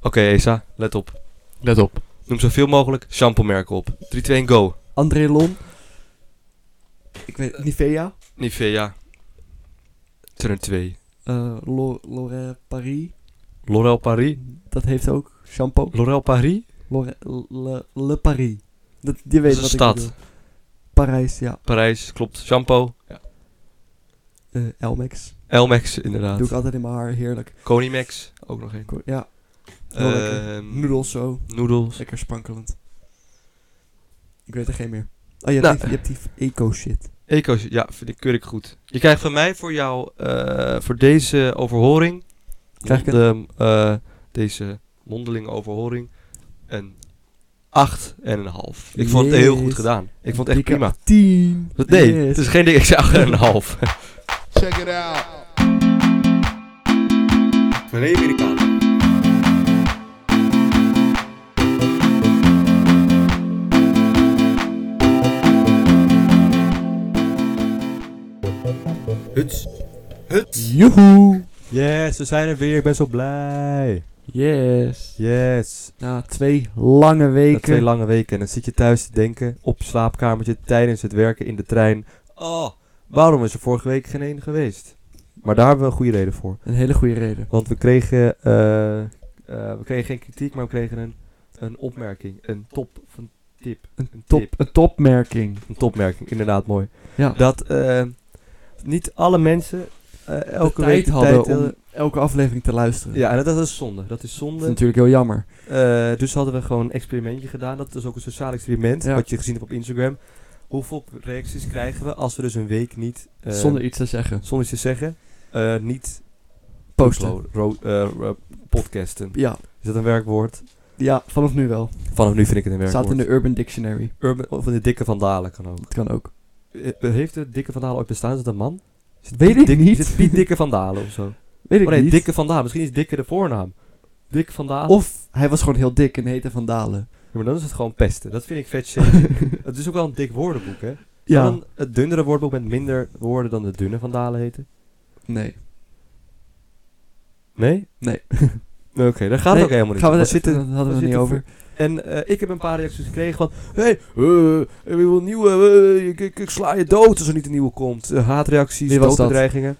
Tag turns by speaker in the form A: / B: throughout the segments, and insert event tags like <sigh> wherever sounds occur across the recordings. A: Oké Esa, let op.
B: Let op.
A: Noem zoveel mogelijk shampoo-merken op. 3, 2, 1, go.
B: André Lon. Ik
A: Eh,
B: weet Nivea.
A: Nivea. Turn 2.
B: eh Lo- L'Oréal Paris.
A: L'Oréal Paris.
B: Dat heeft ook shampoo.
A: L'Oréal Paris?
B: L'Oréal Le, Le Paris. Dat, je
A: Dat
B: weet wat
A: is een
B: ik
A: stad.
B: bedoel. Parijs, ja.
A: Parijs, klopt. Shampoo. Ja.
B: eh Elmex.
A: Elmex, inderdaad.
B: Doe ik altijd in mijn haar. Heerlijk.
A: Conimax, ook nog één.
B: Ko- Ja. Heel lekker.
A: Ehm
B: Noedels zo.
A: noedels.
B: Lekker sprankelend. Ik weet er geen meer. Oh, je hebt,
A: Nou.
B: die, je hebt die eco-shit.
A: Eco's, ja, vind ik keur ik goed. Je krijgt van mij voor jou, eh, voor deze overhoring,
B: Krijg ik een-
A: mondem- eh, deze mondelinge overhoring, een 8 en een half. Ik vond het heel goed
B: Yes.
A: gedaan. Ik vond het echt prima.
B: 10.
A: Dat- Nee, het is geen ding, ik zei 8 en een half.
C: Check it out.
A: Meneer Amerikaan. Huts.
B: Joehoe.
D: Yes, we zijn er weer. Ik ben zo blij.
B: Yes.
D: Yes.
B: Na twee lange
D: Na
B: weken.
D: twee lange weken. En dan zit je thuis te denken. Op slaapkamertje, tijdens het werken, in de trein. Oh, waarom is er vorige week geen één geweest? Maar daar hebben we een goede reden voor.
B: Een hele goede reden.
D: Want we kregen, eh, eh, we kregen geen kritiek, maar we kregen een, een opmerking. Een top of een tip. Een
B: Top,
D: tip.
B: Een topmerking.
D: Een topmerking, inderdaad mooi.
B: Ja.
D: Dat eh, niet alle mensen eh, elke
B: de
D: week
B: tijd
D: de
B: hadden
D: tijd, eh,
B: om elke aflevering te luisteren.
D: Ja, en dat, dat is zonde. Dat is zonde.
B: Dat is natuurlijk heel jammer.
D: Eh, dus hadden we gewoon een experimentje gedaan. Dat is ook een sociaal experiment,
B: Ja.
D: wat je gezien hebt op Instagram. Hoeveel reacties krijgen we als we dus een week niet... eh,
B: Zonder iets te zeggen.
D: zonder iets te zeggen, eh, niet
B: Posten.
D: uploaden, ro- eh, ro- podcasten.
B: Ja.
D: Is dat een werkwoord?
B: ja, vanaf nu wel.
D: Vanaf nu vind ik het een werkwoord.
B: Staat in de Urban Dictionary.
D: Urban, of in de dikke van Dalen kan ook.
B: Dat kan ook.
D: Eh, Heeft de dikke van Dalen ooit bestaan? Is dat een man? Is het
B: Weet
D: Piet
B: ik
D: Dik-
B: niet.
D: Is het Piet Dikke van Dalen of zo?
B: Weet ik
D: Oh nee,
B: niet.
D: Dikke van Dalen. Misschien is Dikke de voornaam. Dikke van Dalen.
B: Of hij was gewoon heel dik en heette Van Dalen.
D: Ja, maar dan is het gewoon pesten. Dat vind ik vet
B: <laughs>
D: shit. het is ook wel een dik woordenboek, hè? Ja.
B: Ja.
D: Dan het dunnere woordboek met minder woorden dan de dunne van Dalen heten?
B: Nee.
D: Nee? <laughs>
B: Nee.
D: Oké, daar gaat het
B: Nee,
D: ook helemaal niet.
B: Gaan we
D: om.
B: daar
D: zitten-
B: zitten? Dat hadden we
D: we
B: het niet
D: zitten
B: over.
D: En eh, ik heb een paar reacties gekregen van... Hé, hey, eh, eh, we wil nieuwe... eh, ik, ik, ik sla je dood als er niet een nieuwe komt. Eh, haatreacties,
B: Wie was dat?
D: doodbedreigingen.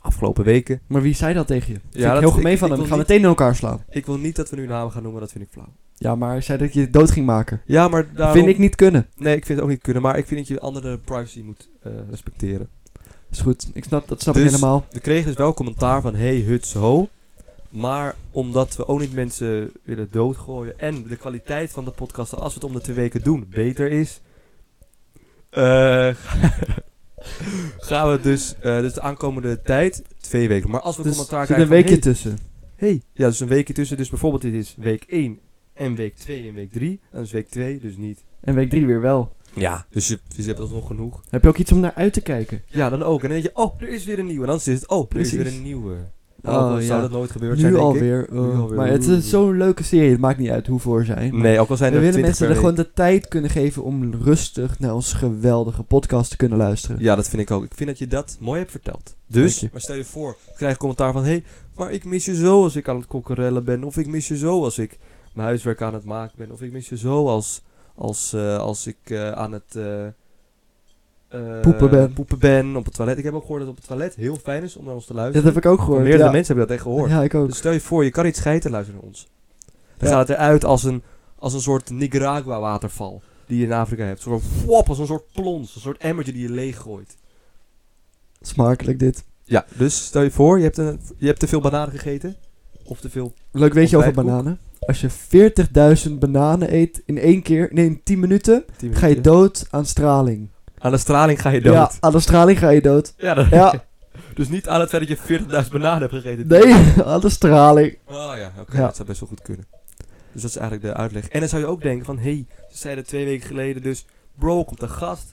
D: Afgelopen weken.
B: Maar wie zei dat tegen je? Vind
D: dat-
B: ik heel gemeen
D: ik-
B: van
D: ik wil
B: hem. Gaan
D: niet-
B: meteen in elkaar slaan.
D: Ik wil niet dat we nu namen gaan noemen, dat vind ik flauw.
B: Ja, maar hij zei dat je het dood ging maken.
D: Ja, maar daarom...
B: Vind ik niet kunnen.
D: Nee, ik vind het ook niet kunnen. Maar ik vind dat je andere privacy moet eh, respecteren.
B: Is goed. Ik snap, dat snap ik
D: Dus-
B: helemaal.
D: We kregen dus wel commentaar van hey huts ho. Maar omdat we ook niet mensen willen doodgooien en de kwaliteit van de podcast, als we het om de twee weken doen, beter is. eh, <laughs> gaan we dus, eh, dus de aankomende tijd, twee weken. Maar als we
B: Dus
D: commentaar
B: er zit
D: krijgen
B: een
D: van,
B: weekje
D: hey,
B: tussen.
D: hey. Ja, dus een weekje tussen. Dus bijvoorbeeld dit is week 1 en week 2 en week 3. En dus week 2 dus niet.
B: En week drie weer wel.
D: Ja. Dus je, dus je hebt alsnog genoeg.
B: Heb je ook iets om naar uit te kijken?
D: Ja, dan ook. En dan denk je, oh, er is weer een nieuwe. En dan is het, oh, er is
B: Precies.
D: weer een nieuwe.
B: Oh,
D: Oh, zou
B: ja.
D: dat nooit gebeurd zijn,
B: Nu
D: denk ik.
B: alweer. eh,
D: Nu alweer.
B: Maar het is zo'n leuke serie. Het maakt niet uit hoe voor zijn.
D: Nee, ook al zijn
B: We
D: er
B: willen
D: 20
B: mensen
D: per
B: er gewoon
D: week.
B: de tijd kunnen geven om rustig naar ons geweldige podcast te kunnen luisteren.
D: Ja, dat vind ik ook. Ik vind dat je dat mooi hebt verteld. Dus,
B: Dank je.
D: maar stel je voor, ik krijg commentaar van... Hé, hey, maar ik mis je zo als ik aan het kokkerellen ben. Of ik mis je zo als ik mijn huiswerk aan het maken ben. Of ik mis je zo als, als, eh, als ik eh, aan het... eh, eh,
B: Poepen ben.
D: Poepen ben op het toilet. Ik heb ook gehoord dat het op het toilet heel fijn is om naar ons te
B: Dat
D: luisteren.
B: heb ik ook gehoord.
D: Meerdere
B: ja.
D: mensen hebben dat echt gehoord.
B: Ja, ik ook.
D: Dus stel je voor, je kan niet scheiden luisteren naar ons. Dan
B: Ja.
D: gaat het eruit als een, als een soort Nicaragua-waterval die je in Afrika hebt. Zo'n wop, als een soort plons, een soort emmertje die je leeggooit.
B: Smakelijk dit.
D: Ja, dus stel je voor, je hebt, een, je hebt te veel bananen gegeten. Of te veel...
B: Leuk weet je over
D: Ontbijtkoek.
B: bananen. Als je 40.000 bananen eet in één keer, nee, in 10 minuten, ga je dood aan straling.
D: Aan de straling ga je dood.
B: Ja, aan de straling ga je dood.
D: Ja, dat-
B: Ja.
D: <laughs> dus niet aan het feit dat je 40.000 bananen hebt gegeten.
B: Nee, <laughs> aan de straling.
D: Oh ja, oké,
B: Ja.
D: dat zou best wel goed kunnen. Dus dat is eigenlijk de uitleg. En dan zou je ook denken van, hé, hey, ze zeiden twee weken geleden dus... Bro, komt een gast.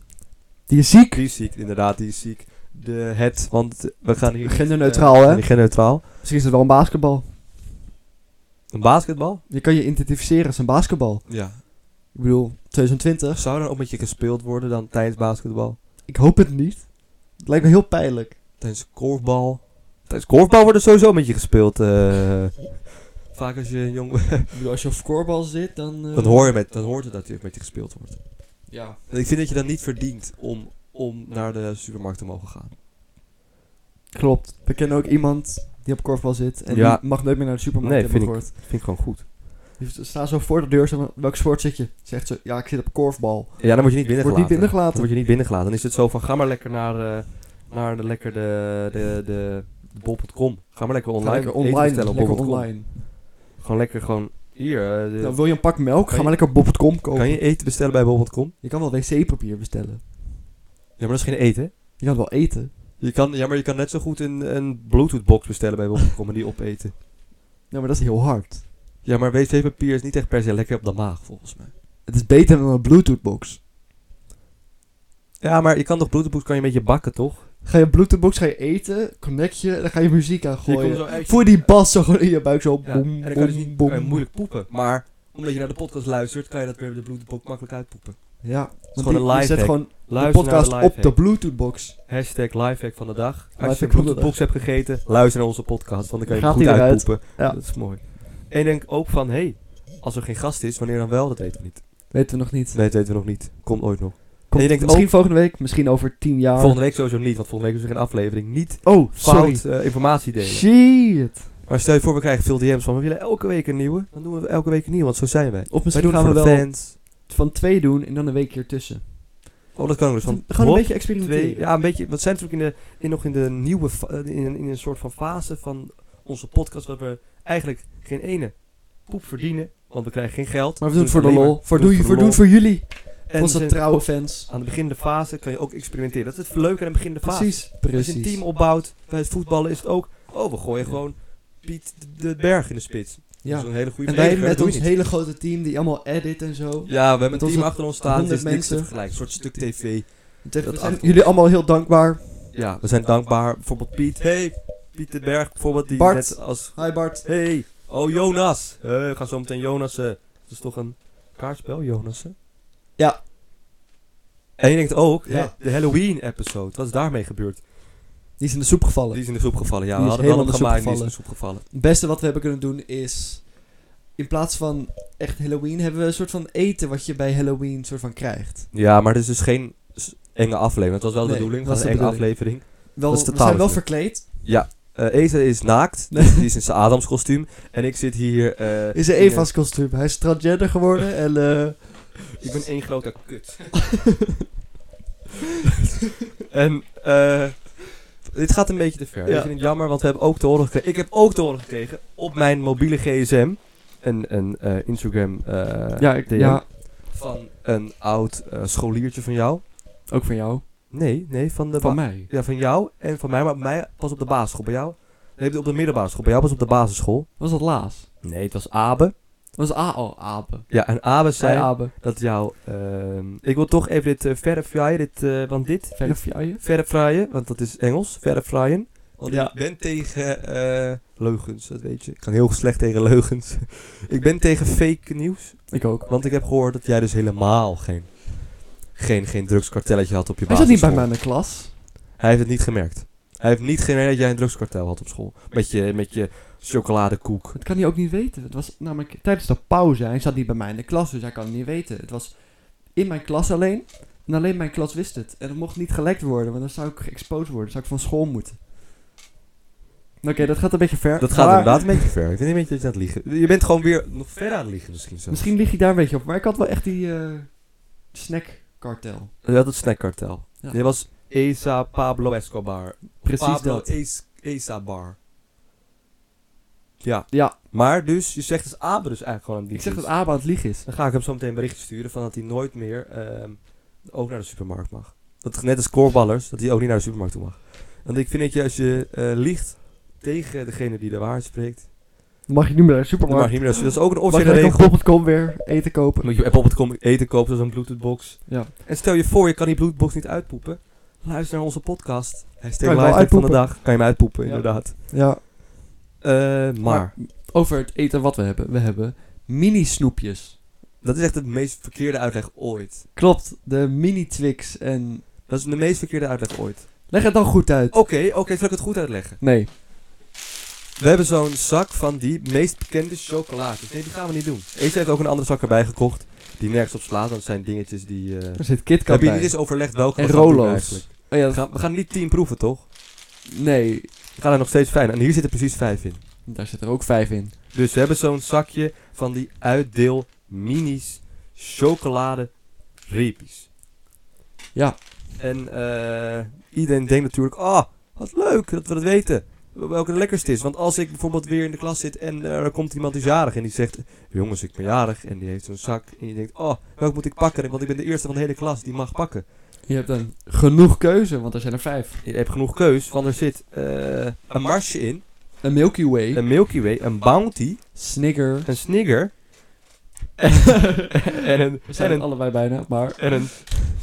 B: Die is ziek.
D: Die is ziek, inderdaad, die is ziek. De het, want we gaan hier...
B: Genderneutraal, hè?
D: hè? Genderneutraal.
B: Misschien is het wel een basketbal.
D: Een basketbal?
B: Je kan je identificeren als een basketbal.
D: Ja.
B: Ik bedoel, 2020.
D: Zou dan ook met je gespeeld worden dan tijdens basketbal?
B: Ik hoop het niet. Het lijkt me heel pijnlijk.
D: Tijdens korfbal? Tijdens korfbal wordt er sowieso met je gespeeld. eh. Vaak als je jong...
E: Ik bedoel, als je op voorbal zit, dan... eh,
D: <laughs> dan, hoor je met, dan hoort het natuurlijk met je gespeeld wordt.
E: Ja.
D: En ik vind dat je dan niet verdient om, om naar de supermarkt te mogen gaan.
B: Klopt. We kennen ook iemand die op korfbal zit en
D: Ja.
B: die mag nooit meer naar de supermarkt
D: Nee,
B: hebben
D: vind ik-
B: gehoord.
D: Dat vind ik gewoon goed.
B: Die staat zo voor de deur, zegt, welk sport zit je? Zegt ze, ja, ik zit op korfbal.
D: Ja, dan word je niet binnengelaten.
B: Wordt niet binnengelaten.
D: Dan word je niet binnengelaten. Dan is het zo van, ga maar lekker naar, eh, naar de, lekker de, de, de, de bol.com. Ga maar lekker online,
B: Ga lekker
D: eten
B: online,
D: bestellen op
B: lekker
D: bol.com.
B: online.
D: Gewoon lekker gewoon, hier, eh, de-
B: Nou, wil je een pak
D: Kan
B: melk? Ga maar
D: je-
B: lekker op bol.com kopen.
D: kan je eten bestellen bij bol.com?
B: Je kan wel wc-papier bestellen.
D: Ja, maar dat is geen eten.
B: Je kan wel eten.
D: Je kan, ja, maar je kan net zo goed een, een bluetooth box bestellen bij bol.com en die opeten.
B: Ja, maar dat is heel hard.
D: Ja, maar wc-papier is niet echt per se lekker op de maag, volgens mij.
B: Het is beter dan een bluetoothbox.
D: Ja, maar je kan toch bluetooth box kan je met je bakken, toch?
B: Ga je bluetoothbox, ga je eten, connect je, en dan ga je muziek aan gooien.
D: zo uit je-
B: Voel je die bas zo gewoon in je buik zo.
D: Ja,
B: boem,
D: en dan kan
B: boem,
D: je dus niet
B: boem.
D: kan je moeilijk poepen. Maar omdat je naar de podcast luistert, kan je dat weer op de Bluetooth makkelijk uitpoepen.
B: Ja, want
D: gewoon
B: die-
D: een
B: Je zet
D: lifehack.
B: gewoon de
D: Luister
B: podcast
D: naar de
B: op de bluetoothbox.
D: Hashtag lifehack van de dag. Als je
B: Lifehack
D: een
B: van de
D: Bluetooth box hebt gegeten, luister naar onze podcast, want dan kan je
B: Gaat
D: hem goed
B: die eruit.
D: uitpoepen.
B: Ja.
D: Dat is mooi. En denk ook van, hé, hey, als er geen gast is, wanneer dan wel? Dat weten we niet.
B: Weten we nog niet.
D: Nee, dat weten we nog niet. Komt ooit nog.
B: Komt
D: je denkt
B: misschien
D: ook-
B: volgende week, misschien over tien jaar.
D: Volgende week sowieso niet, want volgende week is er geen aflevering. Niet
B: Oh, sorry.
D: fout eh, informatie delen.
B: Shit.
D: Maar stel je voor, we krijgen veel DM's van, we willen elke week een nieuwe. Dan doen we elke week een nieuwe, want zo zijn wij.
B: Of
D: Wij
B: misschien
D: doen het
B: gaan we
D: voor de
B: wel
D: fans.
B: van twee doen en dan een week ertussen.
D: Oh, dat kan ook dus.
B: tussen.
D: Van,
B: gewoon een
D: hop,
B: beetje experimenteren.
D: Twee, ja, een beetje. Want zijn natuurlijk in de, in nog in de nieuwe. fa- eh, In, een- in een soort van fase van onze podcast. Waar we eigenlijk geen ene poep verdienen. Want we krijgen geen geld. Dus
B: Maar we doen het voor de
D: alleen
B: lol.
D: maar-
B: Voor,
D: we doen
B: doe, je,
D: het
B: voor,
D: de
B: doen voor jullie.
D: lol. En
B: onze
D: we zijn-
B: trouwe fans.
D: Aan het begin de fase kan je ook experimenteren. Dat is het leuke aan het begin de fase.
B: Precies.
D: Als je een
B: Precies.
D: team opbouwt. Bij het voetballen is het ook. Oh, we gooien gewoon Piet de, de Berg in de spits.
B: Ja.
D: Dat is een hele goede
B: En wij
D: verdediger,
B: met
D: dat doe
B: ons
D: je niet.
B: hele grote team die allemaal edit en zo.
D: Ja, we hebben
B: met
D: een team
B: onze
D: achter ons staan. dus Het is
B: 100
D: niks te
B: mensen.
D: vergelijken. Een soort stuk tv.
B: We zijn
D: achter ons.
B: jullie allemaal heel dankbaar.
D: Ja, we zijn dankbaar. Bijvoorbeeld Piet. Hey, Piet de Berg. Bijvoorbeeld die
B: Bart.
D: net als
B: Hi Bart.
D: Hey, oh Jonas. Hé, we gaan zo meteen Jonassen. Dat is toch een kaartspel, Jonassen?
B: Ja.
D: En je denkt ook, hè,
B: Ja.
D: de Halloween-episode, wat is daarmee gebeurd?
B: Die is in de soep gevallen.
D: Die is in de soep gevallen, ja.
B: Die
D: We
B: is
D: hadden wel hem
B: helemaal
D: gemaakt,
B: in
D: die
B: de
D: is in de soep gevallen.
B: Het beste wat we hebben kunnen doen is... In plaats van echt Halloween hebben we een soort van eten wat je bij Halloween soort van krijgt.
D: Ja, maar het is dus geen s- enge aflevering. Het was wel de
B: Nee,
D: bedoeling,
B: dat
D: van
B: is
D: een enge
B: de
D: aflevering.
B: Wel,
D: Dat is
B: we
D: totaal
B: zijn wel
D: niet leuk.
B: verkleed.
D: Ja, eh Eza is naakt,
B: Nee.
D: dus die is in zijn Adams kostuum. En ik zit hier... eh,
B: Is er
D: in
B: Eva's kostuum. Hij is transgender geworden en... eh,
D: een- Ik ben één grote kut. <laughs> en, eh... Dit gaat een beetje te ver.
B: Ja.
D: Ik vind het jammer, want we hebben ook te horen gekregen. Ik heb ook te horen gekregen op mijn mobiele gsm. Een, een eh, Instagram eh,
B: ja, ik,
D: DM
B: ja,
D: van een oud eh, scholiertje van jou.
B: ook van jou.
D: Nee, nee, van de
B: Van
D: ba-
B: mij.
D: Ja, van jou en van mij, maar mij pas op de basisschool. Bij jou? Nee, op de middelbare school. Bij jou pas op de basisschool.
B: Was dat Laas?
D: Nee, het was Abe.
B: Was A al Abe?
D: Ja, en Abe zei
B: Zij Abe.
D: dat jou... ehm, ik wil toch even dit eh, verfjaaien, dit, eh, want dit...
B: Verder van je?
D: Verfraaien, want dat is Engels. Verfraaien. Want
B: Ja.
D: ik ben tegen eh, leugens, dat weet je. Ik kan heel slecht tegen leugens. <laughs> ik ben tegen fake nieuws.
B: Ik ook.
D: Want ik heb gehoord dat jij dus helemaal geen, geen, geen drugskartelletje had op je
B: Hij
D: basisschool.
B: zat niet bij mij in de klas.
D: Hij heeft het niet gemerkt. Hij heeft niet gemerkt dat jij een drugskartel had op school. Met je, met je chocoladekoek.
B: Dat kan hij ook niet weten. Het was namelijk tijdens de pauze. Hij zat niet bij mij in de klas, dus hij kan het niet weten. Het was in mijn klas alleen. En alleen mijn klas wist het. En het mocht niet gelekt worden, want dan zou ik geëxposed worden. Dan zou ik van school moeten. Nou, Oké, dat gaat een beetje ver.
D: Dat gaat
B: maar
D: inderdaad een beetje ver. Ik vind een beetje dat je aan het liegen. Je bent gewoon weer nog verder aan het liegen misschien zelfs.
B: Misschien lig je daar een beetje op. Maar ik had wel echt die eh snackkartel.
D: Je had het snackkartel.
B: Ja.
D: Dit was Esa Pablo Escobar.
B: Precies
D: Pablo
B: dat.
D: Es- Esa Bar. Ja.
B: Ja.
D: Maar dus, je zegt dus Abe dus eigenlijk gewoon aan die
B: Ik zeg dat
D: is.
B: Aba aan het liegen is.
D: Dan ga ik hem zo meteen een berichtje sturen van dat hij nooit meer ehm, ook naar de supermarkt mag. Dat net als koorballers, dat hij ook niet naar de supermarkt toe mag. Want ik vind dat je als je eh, liegt tegen degene die de waarheid spreekt,
B: Dan mag je niet meer naar de
D: dan mag je
B: supermarkt.
D: niet meer naar de supermarkt. Dat is ook een
B: Mag je
D: officiële
B: lekker
D: regel.
B: op bol.com weer eten kopen.
D: Dan Moet je op bol.com eten kopen, zoals een bluetoothbox.
B: Ja.
D: En stel je voor, je kan die bluetoothbox niet uitpoepen. Luister naar onze podcast. Hashtag
B: Kan je
D: live
B: wel
D: van de
B: uitpoepen.
D: dag. Kan je hem uitpoepen,
B: Ja.
D: inderdaad.
B: Ja.
D: Eh, maar,
B: Over het eten wat we hebben. We hebben mini-snoepjes.
D: dat is echt het meest verkeerde uitleg ooit.
B: Klopt, de mini-Twix en...
D: Dat is de meest verkeerde uitleg ooit.
B: Leg het dan goed uit.
D: Oké, oké, zal ik het goed uitleggen?
B: Nee.
D: We hebben zo'n zak van die meest bekende chocolade. Dus nee, die gaan we niet doen. Ace heeft ook een andere zak erbij gekocht. Die nergens op slaat, want het zijn dingetjes die... eh
B: Er zit KitKat
D: heb je niet
B: bij.
D: eens overlegd welke
B: En
D: we gaan doen
B: Rolo's.
D: eigenlijk?
B: Oh ja,
D: We gaan, we gaan niet tien proeven, toch?
B: nee.
D: We gaan er nog steeds vijf. En hier zitten precies vijf in.
B: Daar zit er ook vijf in.
D: Dus we hebben zo'n zakje van die uitdeel minis chocolade reepies.
B: Ja.
D: En eh, iedereen denkt natuurlijk, ah, wat leuk dat we dat weten. Welke het lekkerste is. Want als ik bijvoorbeeld weer in de klas zit en eh, er komt iemand die is jarig en die zegt, jongens, ik ben jarig. En die heeft zo'n zak. En die denkt, oh, welk moet ik pakken? Want ik ben de eerste van de hele klas die mag pakken.
B: Je hebt dan genoeg keuze, want er zijn er vijf.
D: Je hebt genoeg keus, want er zit eh, een marsje in,
B: Een Milky Way,
D: een Milky Way, een Bounty,
B: Snicker.
D: een
B: <laughs>
D: Snigger. en een,
B: We
D: en
B: zijn
D: een
B: er allebei bijna, maar...
D: En een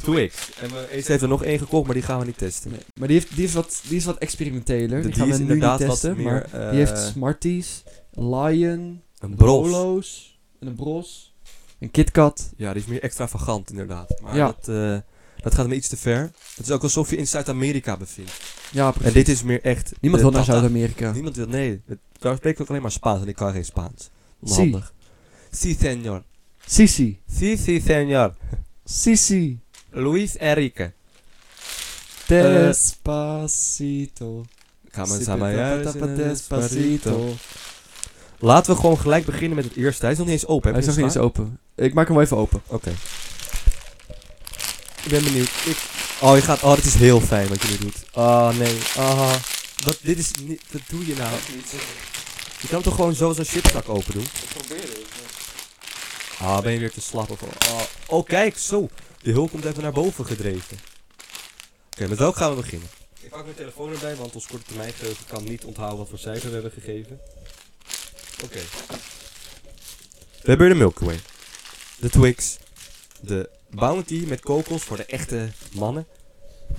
D: Twix. En we Ace heeft er nog één gekocht, maar die gaan we niet testen.
B: Nee, Maar die, heeft, die, is wat, die is wat experimenteler.
D: De-
B: die gaan we nu niet
D: wat
B: testen,
D: meer,
B: maar...
D: eh,
B: die heeft Smarties, Lion,
D: een bros.
B: Rolo's, en een Bros, een KitKat.
D: Ja, die is meer extravagant inderdaad. Maar
B: Ja.
D: dat, eh, dat gaat me iets te ver. Het is ook alsof je in Zuid-Amerika bevindt.
B: Ja, precies.
D: En dit is meer echt...
B: Niemand
D: de
B: wil naar
D: tata.
B: Zuid-Amerika.
D: Niemand wil, nee. Het- Daar spreek ik ook alleen maar Spaans en ik kan geen Spaans.
B: Si,
D: Onhandig. Si, senor.
B: Sisi,
D: Si, si, senor.
B: Sisi,
D: Luis Enrique.
B: Despacito.
D: Despacito.
B: Despacito.
D: Laten we gewoon gelijk beginnen met het eerste. Hij is nog niet eens open.
B: Hij
D: Heb
B: is
D: je
B: nog niet eens
D: hem
B: open. Ik maak hem wel even open.
D: staan? Oké. Ik ben benieuwd. Ik... Oh, je gaat... Oh, dit is heel fijn wat je nu doet. Oh, nee. Ah. Wat, dit is niet... Wat doe je nou? Je kan hem toch gewoon zo zo'n chipzak open doen? Ah, ben je weer te slap of... Oh, oh kijk, zo. De hul komt even naar boven gedreven. Oké, met welk gaan we beginnen? Ik pak mijn telefoon erbij, want ons korte termijn geheugen kan niet onthouden wat voor cijfer we hebben gegeven. Oké. We hebben hier de Milky Way. De Twix. De Bounty met kokos voor de echte mannen.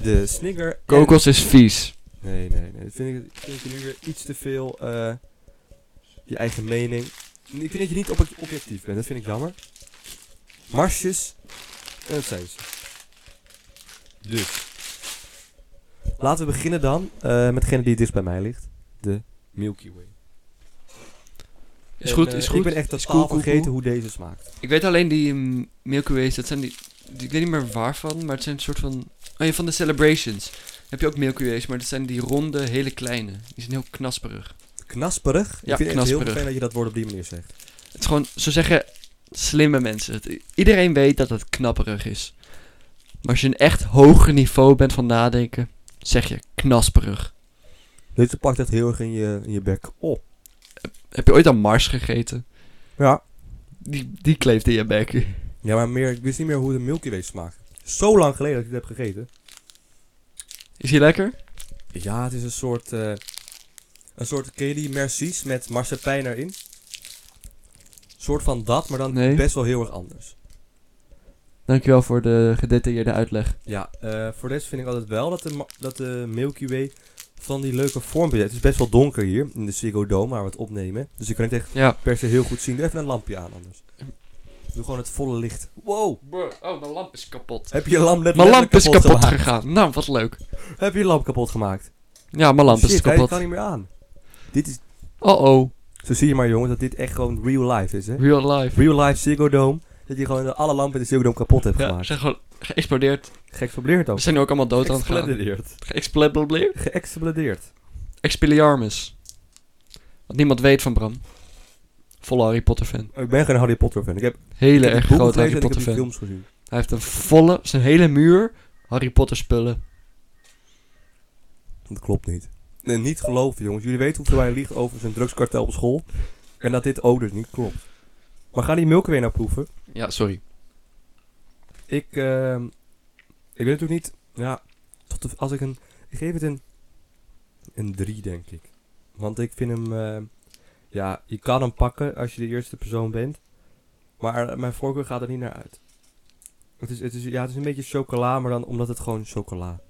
D: De Snicker. en-
B: Kokos is vies.
D: Nee, nee, nee. Dat Vind ik, vind ik nu weer iets te veel eh, je eigen mening. Ik vind dat je niet op objectief bent. Dat vind ik jammer. Marsjes. En dat zijn ze. Dus. Laten we beginnen dan eh, met degene die het dichtst bij mij ligt. De Milky Way.
B: Is
D: En,
B: goed,
D: eh,
B: is
D: Ik
B: goed.
D: ben echt
B: Is
D: totaal
B: cool, cool,
D: vergeten
B: cool.
D: hoe deze smaakt.
B: Ik weet alleen die mm, Milky Ways, dat zijn die, die- Ik weet niet meer waarvan, maar het zijn een soort van... Oh ja, van de Celebrations. Heb je ook Milky Ways, maar dat zijn die ronde, hele kleine. Die zijn heel knasperig.
D: Knasperig.
B: Ja,
D: ik vind het heel
B: knasperig.
D: fijn dat je dat woord op die manier zegt.
B: Het is gewoon, zo zeggen slimme mensen. Het, iedereen weet dat het knapperig is. Maar als je een echt hoger niveau bent van nadenken, zeg je knasperig.
D: Deze pakt echt heel erg in je, in je bek op.
B: Heb je ooit aan Mars gegeten?
D: Ja.
B: Die, die kleeft in je bek.
D: Ja, maar meer, ik wist niet meer hoe de Milky Way smaakt. Zo lang geleden dat ik dit heb gegeten.
B: Is die lekker?
D: Ja, het is een soort. eh, een soort. Ken je die Mercies met marsepein erin? Een soort van dat, maar dan
B: Nee.
D: best wel heel erg anders.
B: Dankjewel voor de gedetailleerde uitleg.
D: Ja, eh, voor de rest vind ik altijd wel dat de, ma- dat de Milky Way van die leuke vorm bezit. Het is best wel donker hier in de Ziggo Dome waar we het opnemen. Dus ik kan het echt
B: Ja.
D: per se heel goed zien. Doe even een lampje aan anders. Doe gewoon het volle licht. Wow,
B: oh, mijn lamp is kapot.
D: heb je je lamp net
B: Mijn lamp is
D: letterlijk
B: kapot
D: gemaakt?
B: gegaan. Nou, wat leuk.
D: Heb je je lamp kapot gemaakt?
B: Ja, mijn lamp is
D: Shit, hij
B: kapot.
D: kan niet meer aan. Dit is,
B: Oh oh,
D: zo zie je maar jongens, dat dit echt gewoon real life is hè.
B: real life.
D: real life Ziggo Dome. Dat je gewoon alle lampen in de Ziggo Dome kapot hebt
B: Ja, ze
D: gemaakt.
B: zijn gewoon geëxplodeerd.
D: Geëxplodeerd ook.
B: We zijn nu ook allemaal dood aan het gaan.
D: Geëxplodeerd.
B: Geëxplodeerd?
D: Geëxplodeerd.
B: Expelliarmus. Wat niemand weet van Bram. Volle Harry Potter fan.
D: Ik ben geen Harry Potter fan. Ik heb ik
B: Hele
D: heb die
B: erg
D: boeken
B: grote
D: gelezen en
B: Harry Potter
D: ik heb
B: fan.
D: die films gezien.
B: Hij heeft een volle, zijn hele muur Harry Potter spullen.
D: Dat klopt niet. Nee, niet geloven jongens. Jullie weten hoeveel wij liegen over zijn drugskartel op school. En dat dit ook dus niet klopt. Maar ga die Milky Way nou proeven.
B: Ja, sorry.
D: Ik, ehm, ik weet natuurlijk niet. Ja, tot de- als ik een. Ik geef het een. Een 3, denk ik. Want ik vind hem. ehm, ja, je kan hem pakken als je de eerste persoon bent. Maar mijn voorkeur gaat er niet naar uit. Het is, het is, ja, het is een beetje chocola, maar dan omdat het gewoon chocola.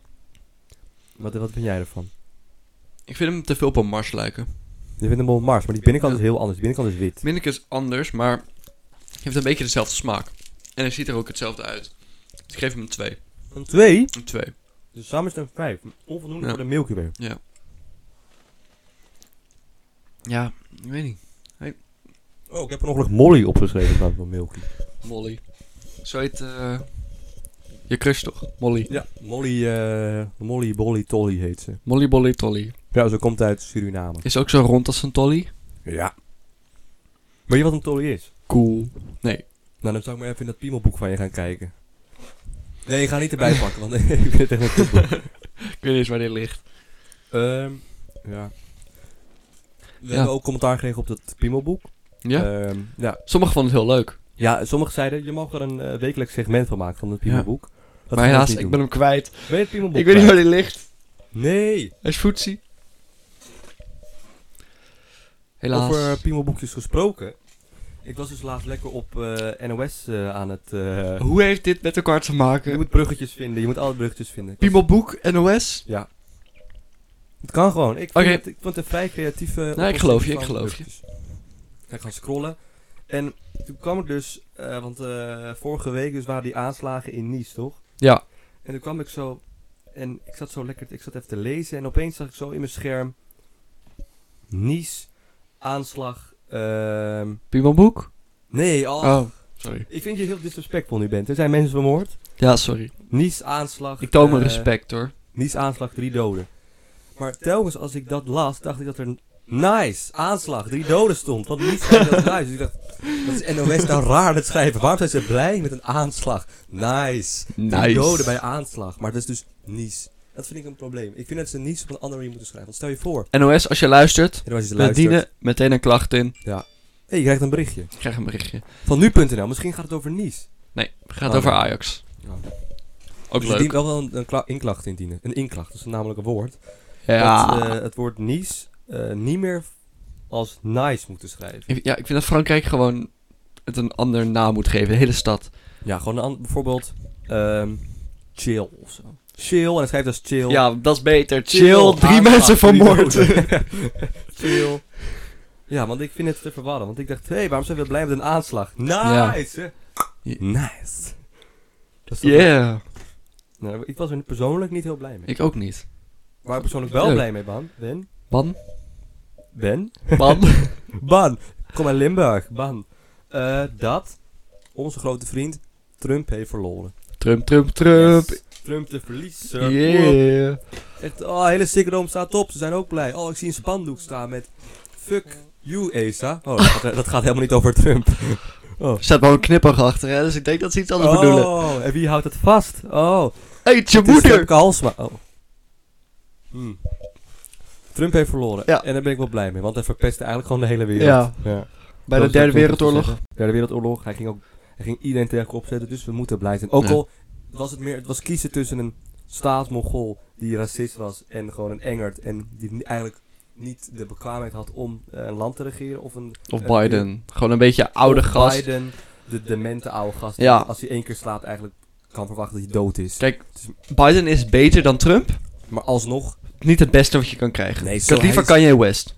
D: Wat, wat vind jij ervan?
B: Ik vind hem te veel op een Mars lijken.
D: Je vindt hem wel Mars, maar die binnenkant is heel anders. Die binnenkant is wit.
B: Minnik is anders, maar heeft een beetje dezelfde smaak. En hij ziet er ook hetzelfde uit. Dus ik geef hem een 2.
D: Een 2?
B: Een 2.
D: Dus samen is het een 5. Onvoldoende
B: Ja.
D: voor de Milky Way.
B: Ja. Ja, ik weet niet.
D: Oh, ik heb er ongeluk Molly opgeschreven in plaats van Milky.
B: Molly. Zo heet eh, je crush toch? Molly.
D: Ja, Molly, eh Molly Bolly Tolly heet ze.
B: Molly Bolly Tolly.
D: Ja, ze komt uit Suriname.
B: Is ook zo rond als een tolly.
D: Ja. Weet je wat een tolly is?
B: Cool.
D: Nou, dan zou ik maar even in dat piemelboek van je gaan kijken. Nee, ik ga niet erbij pakken, want <laughs> ik ben echt een koepel.
B: Ik weet niet eens waar dit ligt.
D: <laughs> Ehm, ja. We
B: Ja.
D: hebben ook commentaar gekregen op dat piemelboek.
B: Ja?
D: Ehm, ja.
B: Sommigen vonden het heel leuk.
D: ja, sommigen zeiden, je mag er een eh, wekelijks segment van maken van het
B: Ja.
D: piemelboek. Dat
B: maar
D: gaan we
B: helaas,
D: niet
B: ik
D: doen.
B: ben hem kwijt.
D: Ben je het piemelboek
B: Ik weet niet
D: kwijt?
B: waar dit ligt.
D: Nee!
B: Hij is footsie. Helaas.
D: Over eh, piemelboekjes gesproken. Ik was dus laatst lekker op eh, NOS eh, aan het... eh,
B: Hoe heeft dit met elkaar te
D: je
B: maken?
D: moet bruggetjes vinden, je moet alle bruggetjes vinden. Ik was-
B: Piemelboek, NOS?
D: Ja. Het kan gewoon. Ik vond,
B: Oké.
D: het, ik vond het een vrij creatieve...
B: Nee, ik geloof je, ik geloof je.
D: Ik ga scrollen. En toen kwam ik dus... eh, want eh, vorige week dus waren die aanslagen in Nice, toch?
B: Ja.
D: En toen kwam ik zo... En ik zat zo lekker... Ik zat even te lezen. En opeens zag ik zo in mijn scherm... Nice. Aanslag. ehm,
B: Piemelboek?
D: nee, al.
B: Oh, sorry.
D: Ik vind je heel disrespectvol nu bent. Er zijn mensen vermoord.
B: Ja, sorry.
D: Nice aanslag.
B: Ik toon mijn
D: eh,
B: respect hoor.
D: Nice aanslag, drie doden. Maar telkens als ik dat las, dacht ik dat er een nice aanslag, drie doden stond. Want niets schreef dat nice. Dus ik dacht, dat is NOS nou raar dat schrijven. Waarom zijn ze blij met een aanslag? Nice. Drie doden bij aanslag. Maar dat is dus nice. Dat vind ik een probleem. Ik vind dat ze nice op een andere manier moeten schrijven. Want stel je voor,
B: NOS, als je luistert,
D: en als je
B: we
D: luistert,
B: dienen meteen een klacht in.
D: hey, je krijgt een berichtje.
B: Ik krijg een berichtje.
D: Van nu.nl, misschien gaat het over nice.
B: Nee, het gaat
D: Oh,
B: over
D: nee.
B: Ajax.
D: Ja.
B: Ook
D: dus je
B: leuk.
D: dient wel wel een, een kla- inklacht indienen. Een inklacht, dat is namelijk een woord.
B: Ja.
D: dat eh, het woord nice eh, niet meer als nice moeten schrijven.
B: Ik- ja, ik vind dat Frankrijk gewoon het een ander naam moet geven. De hele stad.
D: Ja, gewoon een an- bijvoorbeeld ehm, chill of zo. Chill, en dan schrijft als chill.
B: Ja, dat is beter. Chill. drie
D: aanslag,
B: mensen vermoord.
D: drie doden. <laughs> chill. Ja, want ik vind het te verwarren. Want ik dacht, hé, hey, waarom zijn we blij met een aanslag? Nice! hè?
B: Ja.
D: Nice. Dat is toch-
B: <laughs> Yeah.
D: Nou, ik was er persoonlijk niet heel blij mee.
B: Ik ook niet.
D: Waar ik persoonlijk wel
B: Leuk.
D: blij mee ben, ben,
B: Ban?
D: ben
B: Ban?
D: Ban. Kom uit Limburg. Ban. Eh, dat onze grote vriend Trump heeft verloren.
B: Trump, Trump, Trump.
D: Yes. Trump de verliezer.
B: Yeah.
D: Echt, oh, hele stickerdome staat op. Ze zijn ook blij. Oh, ik zie een spandoek staan met fuck you, ESA. Oh, dat, gaat- dat gaat helemaal niet over Trump.
B: Er staat wel een knipper achter, hè? dus ik denk dat ze iets anders bedoelen.
D: Oh, en wie houdt het vast? Oh,
B: Eet je
D: het is
B: moeder!
D: Femke Halsema. Oh. Hm. Trump heeft verloren.
B: Ja.
D: En daar ben ik wel blij mee, want hij verpestte eigenlijk gewoon de hele wereld.
B: Ja.
D: ja.
B: Bij
D: Dat
B: de
D: is wat
B: Derde
D: Trump te
B: Wereldoorlog.
D: zeggen. Derde Wereldoorlog. Hij ging, ook, hij ging iedereen tegen elkaar opzetten, dus we moeten blij zijn. Ook
B: Ja.
D: al was het meer, het was kiezen tussen een staatsmogol die racist was en gewoon een engert en die ni- eigenlijk niet de bekwaamheid had om eh, een land te regeren of een
B: Of
D: eh,
B: Biden. Gewoon een beetje oude
D: of
B: Oh, gast.
D: Biden, de demente oude gast. die
B: Ja.
D: Als hij één keer slaat eigenlijk kan verwachten dat hij dood is.
B: Kijk, Biden is beter dan Trump.
D: Maar alsnog.
B: Niet het beste wat je kan krijgen.
D: Nee,
B: ik had liever
D: <laughs> hij
B: Kanye West.
D: is-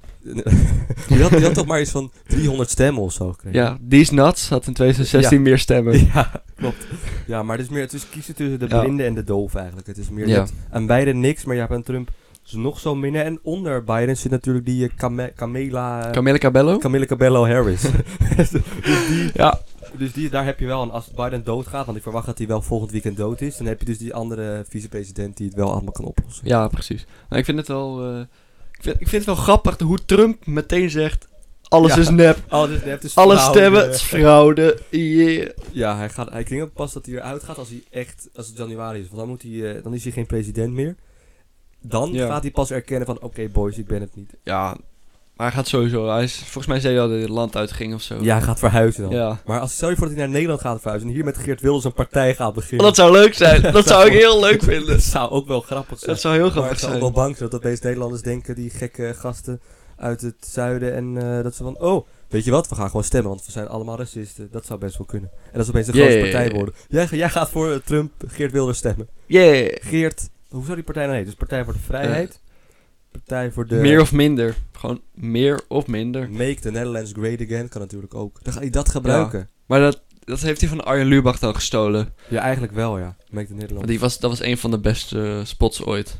D: die, had, die had toch maar eens van 300 stemmen of zo gekregen.
B: Ja, die is nuts. Had in 2016 meer stemmen. <laughs>
D: Ja, <laughs> klopt. Ja, maar het is meer het is kiezen tussen de
B: Ja.
D: blinde en de doof eigenlijk. Het is meer
B: Ja.
D: dit. aan beide niks, maar je hebt aan Trump is nog zo minder. En onder Biden zit natuurlijk die eh, Kame- Kamela, eh,
B: Camille Cabello?
D: Camilla Cabello Harris. <laughs>
B: ja.
D: dus die, daar heb je wel. En als Biden doodgaat, want ik verwacht dat hij wel volgend weekend dood is, dan heb je dus die andere vicepresident die het wel allemaal kan oplossen.
B: ja, precies. Maar ik vind het wel... eh, ik, vind, ik vind het wel grappig hoe Trump meteen zegt... Alles
D: Ja.
B: is nep.
D: Oh, dus het is
B: Alle
D: fraude.
B: stemmen. Het is fraude. Yeah.
D: Ja, hij, gaat, hij klinkt ook pas dat hij eruit gaat als hij echt, als het januari is. Want dan, moet hij, eh, dan is hij geen president meer. Dan
B: Ja.
D: gaat hij pas erkennen van, oké boys, ik ben het niet.
B: Ja. Maar hij gaat sowieso... Hij is, volgens mij zei hij al dat hij het land uitging of zo.
D: Ja, hij gaat verhuizen dan.
B: Ja.
D: Maar als, stel je voor dat hij naar Nederland gaat verhuizen en hier met Geert Wilders een partij gaat beginnen.
B: Dat zou leuk
D: <laughs>
B: zijn. Dat zou ik heel leuk vinden.
D: Dat zou ook wel grappig zijn.
B: Dat zou heel
D: maar ik
B: grappig
D: zou ook
B: zijn.
D: wel bang zijn dat deze Nederlanders denken, die gekke gasten uit het zuiden. En eh, dat ze van, oh, weet je wat, we gaan gewoon stemmen, want we zijn allemaal racisten. Dat zou best wel kunnen. En dat is opeens een
B: Ja,
D: grote
B: ja, ja,
D: partij
B: ja.
D: worden. Jij, ga- jij gaat voor eh, Trump, Geert Wilders stemmen.
B: Yeah.
D: Geert, hoe zou die partij nou heten? Dus Partij voor de Vrijheid. partij voor de...
B: Eh, Meer of minder. Gewoon meer of minder.
D: Make the Netherlands Great Again kan natuurlijk ook. Dan ga je dat gebruiken.
B: Maar dat, dat heeft hij van Arjen Lubach dan gestolen.
D: Ja, eigenlijk wel ja. Make the Netherlands.
B: Want die was, dat was een van de beste spots ooit.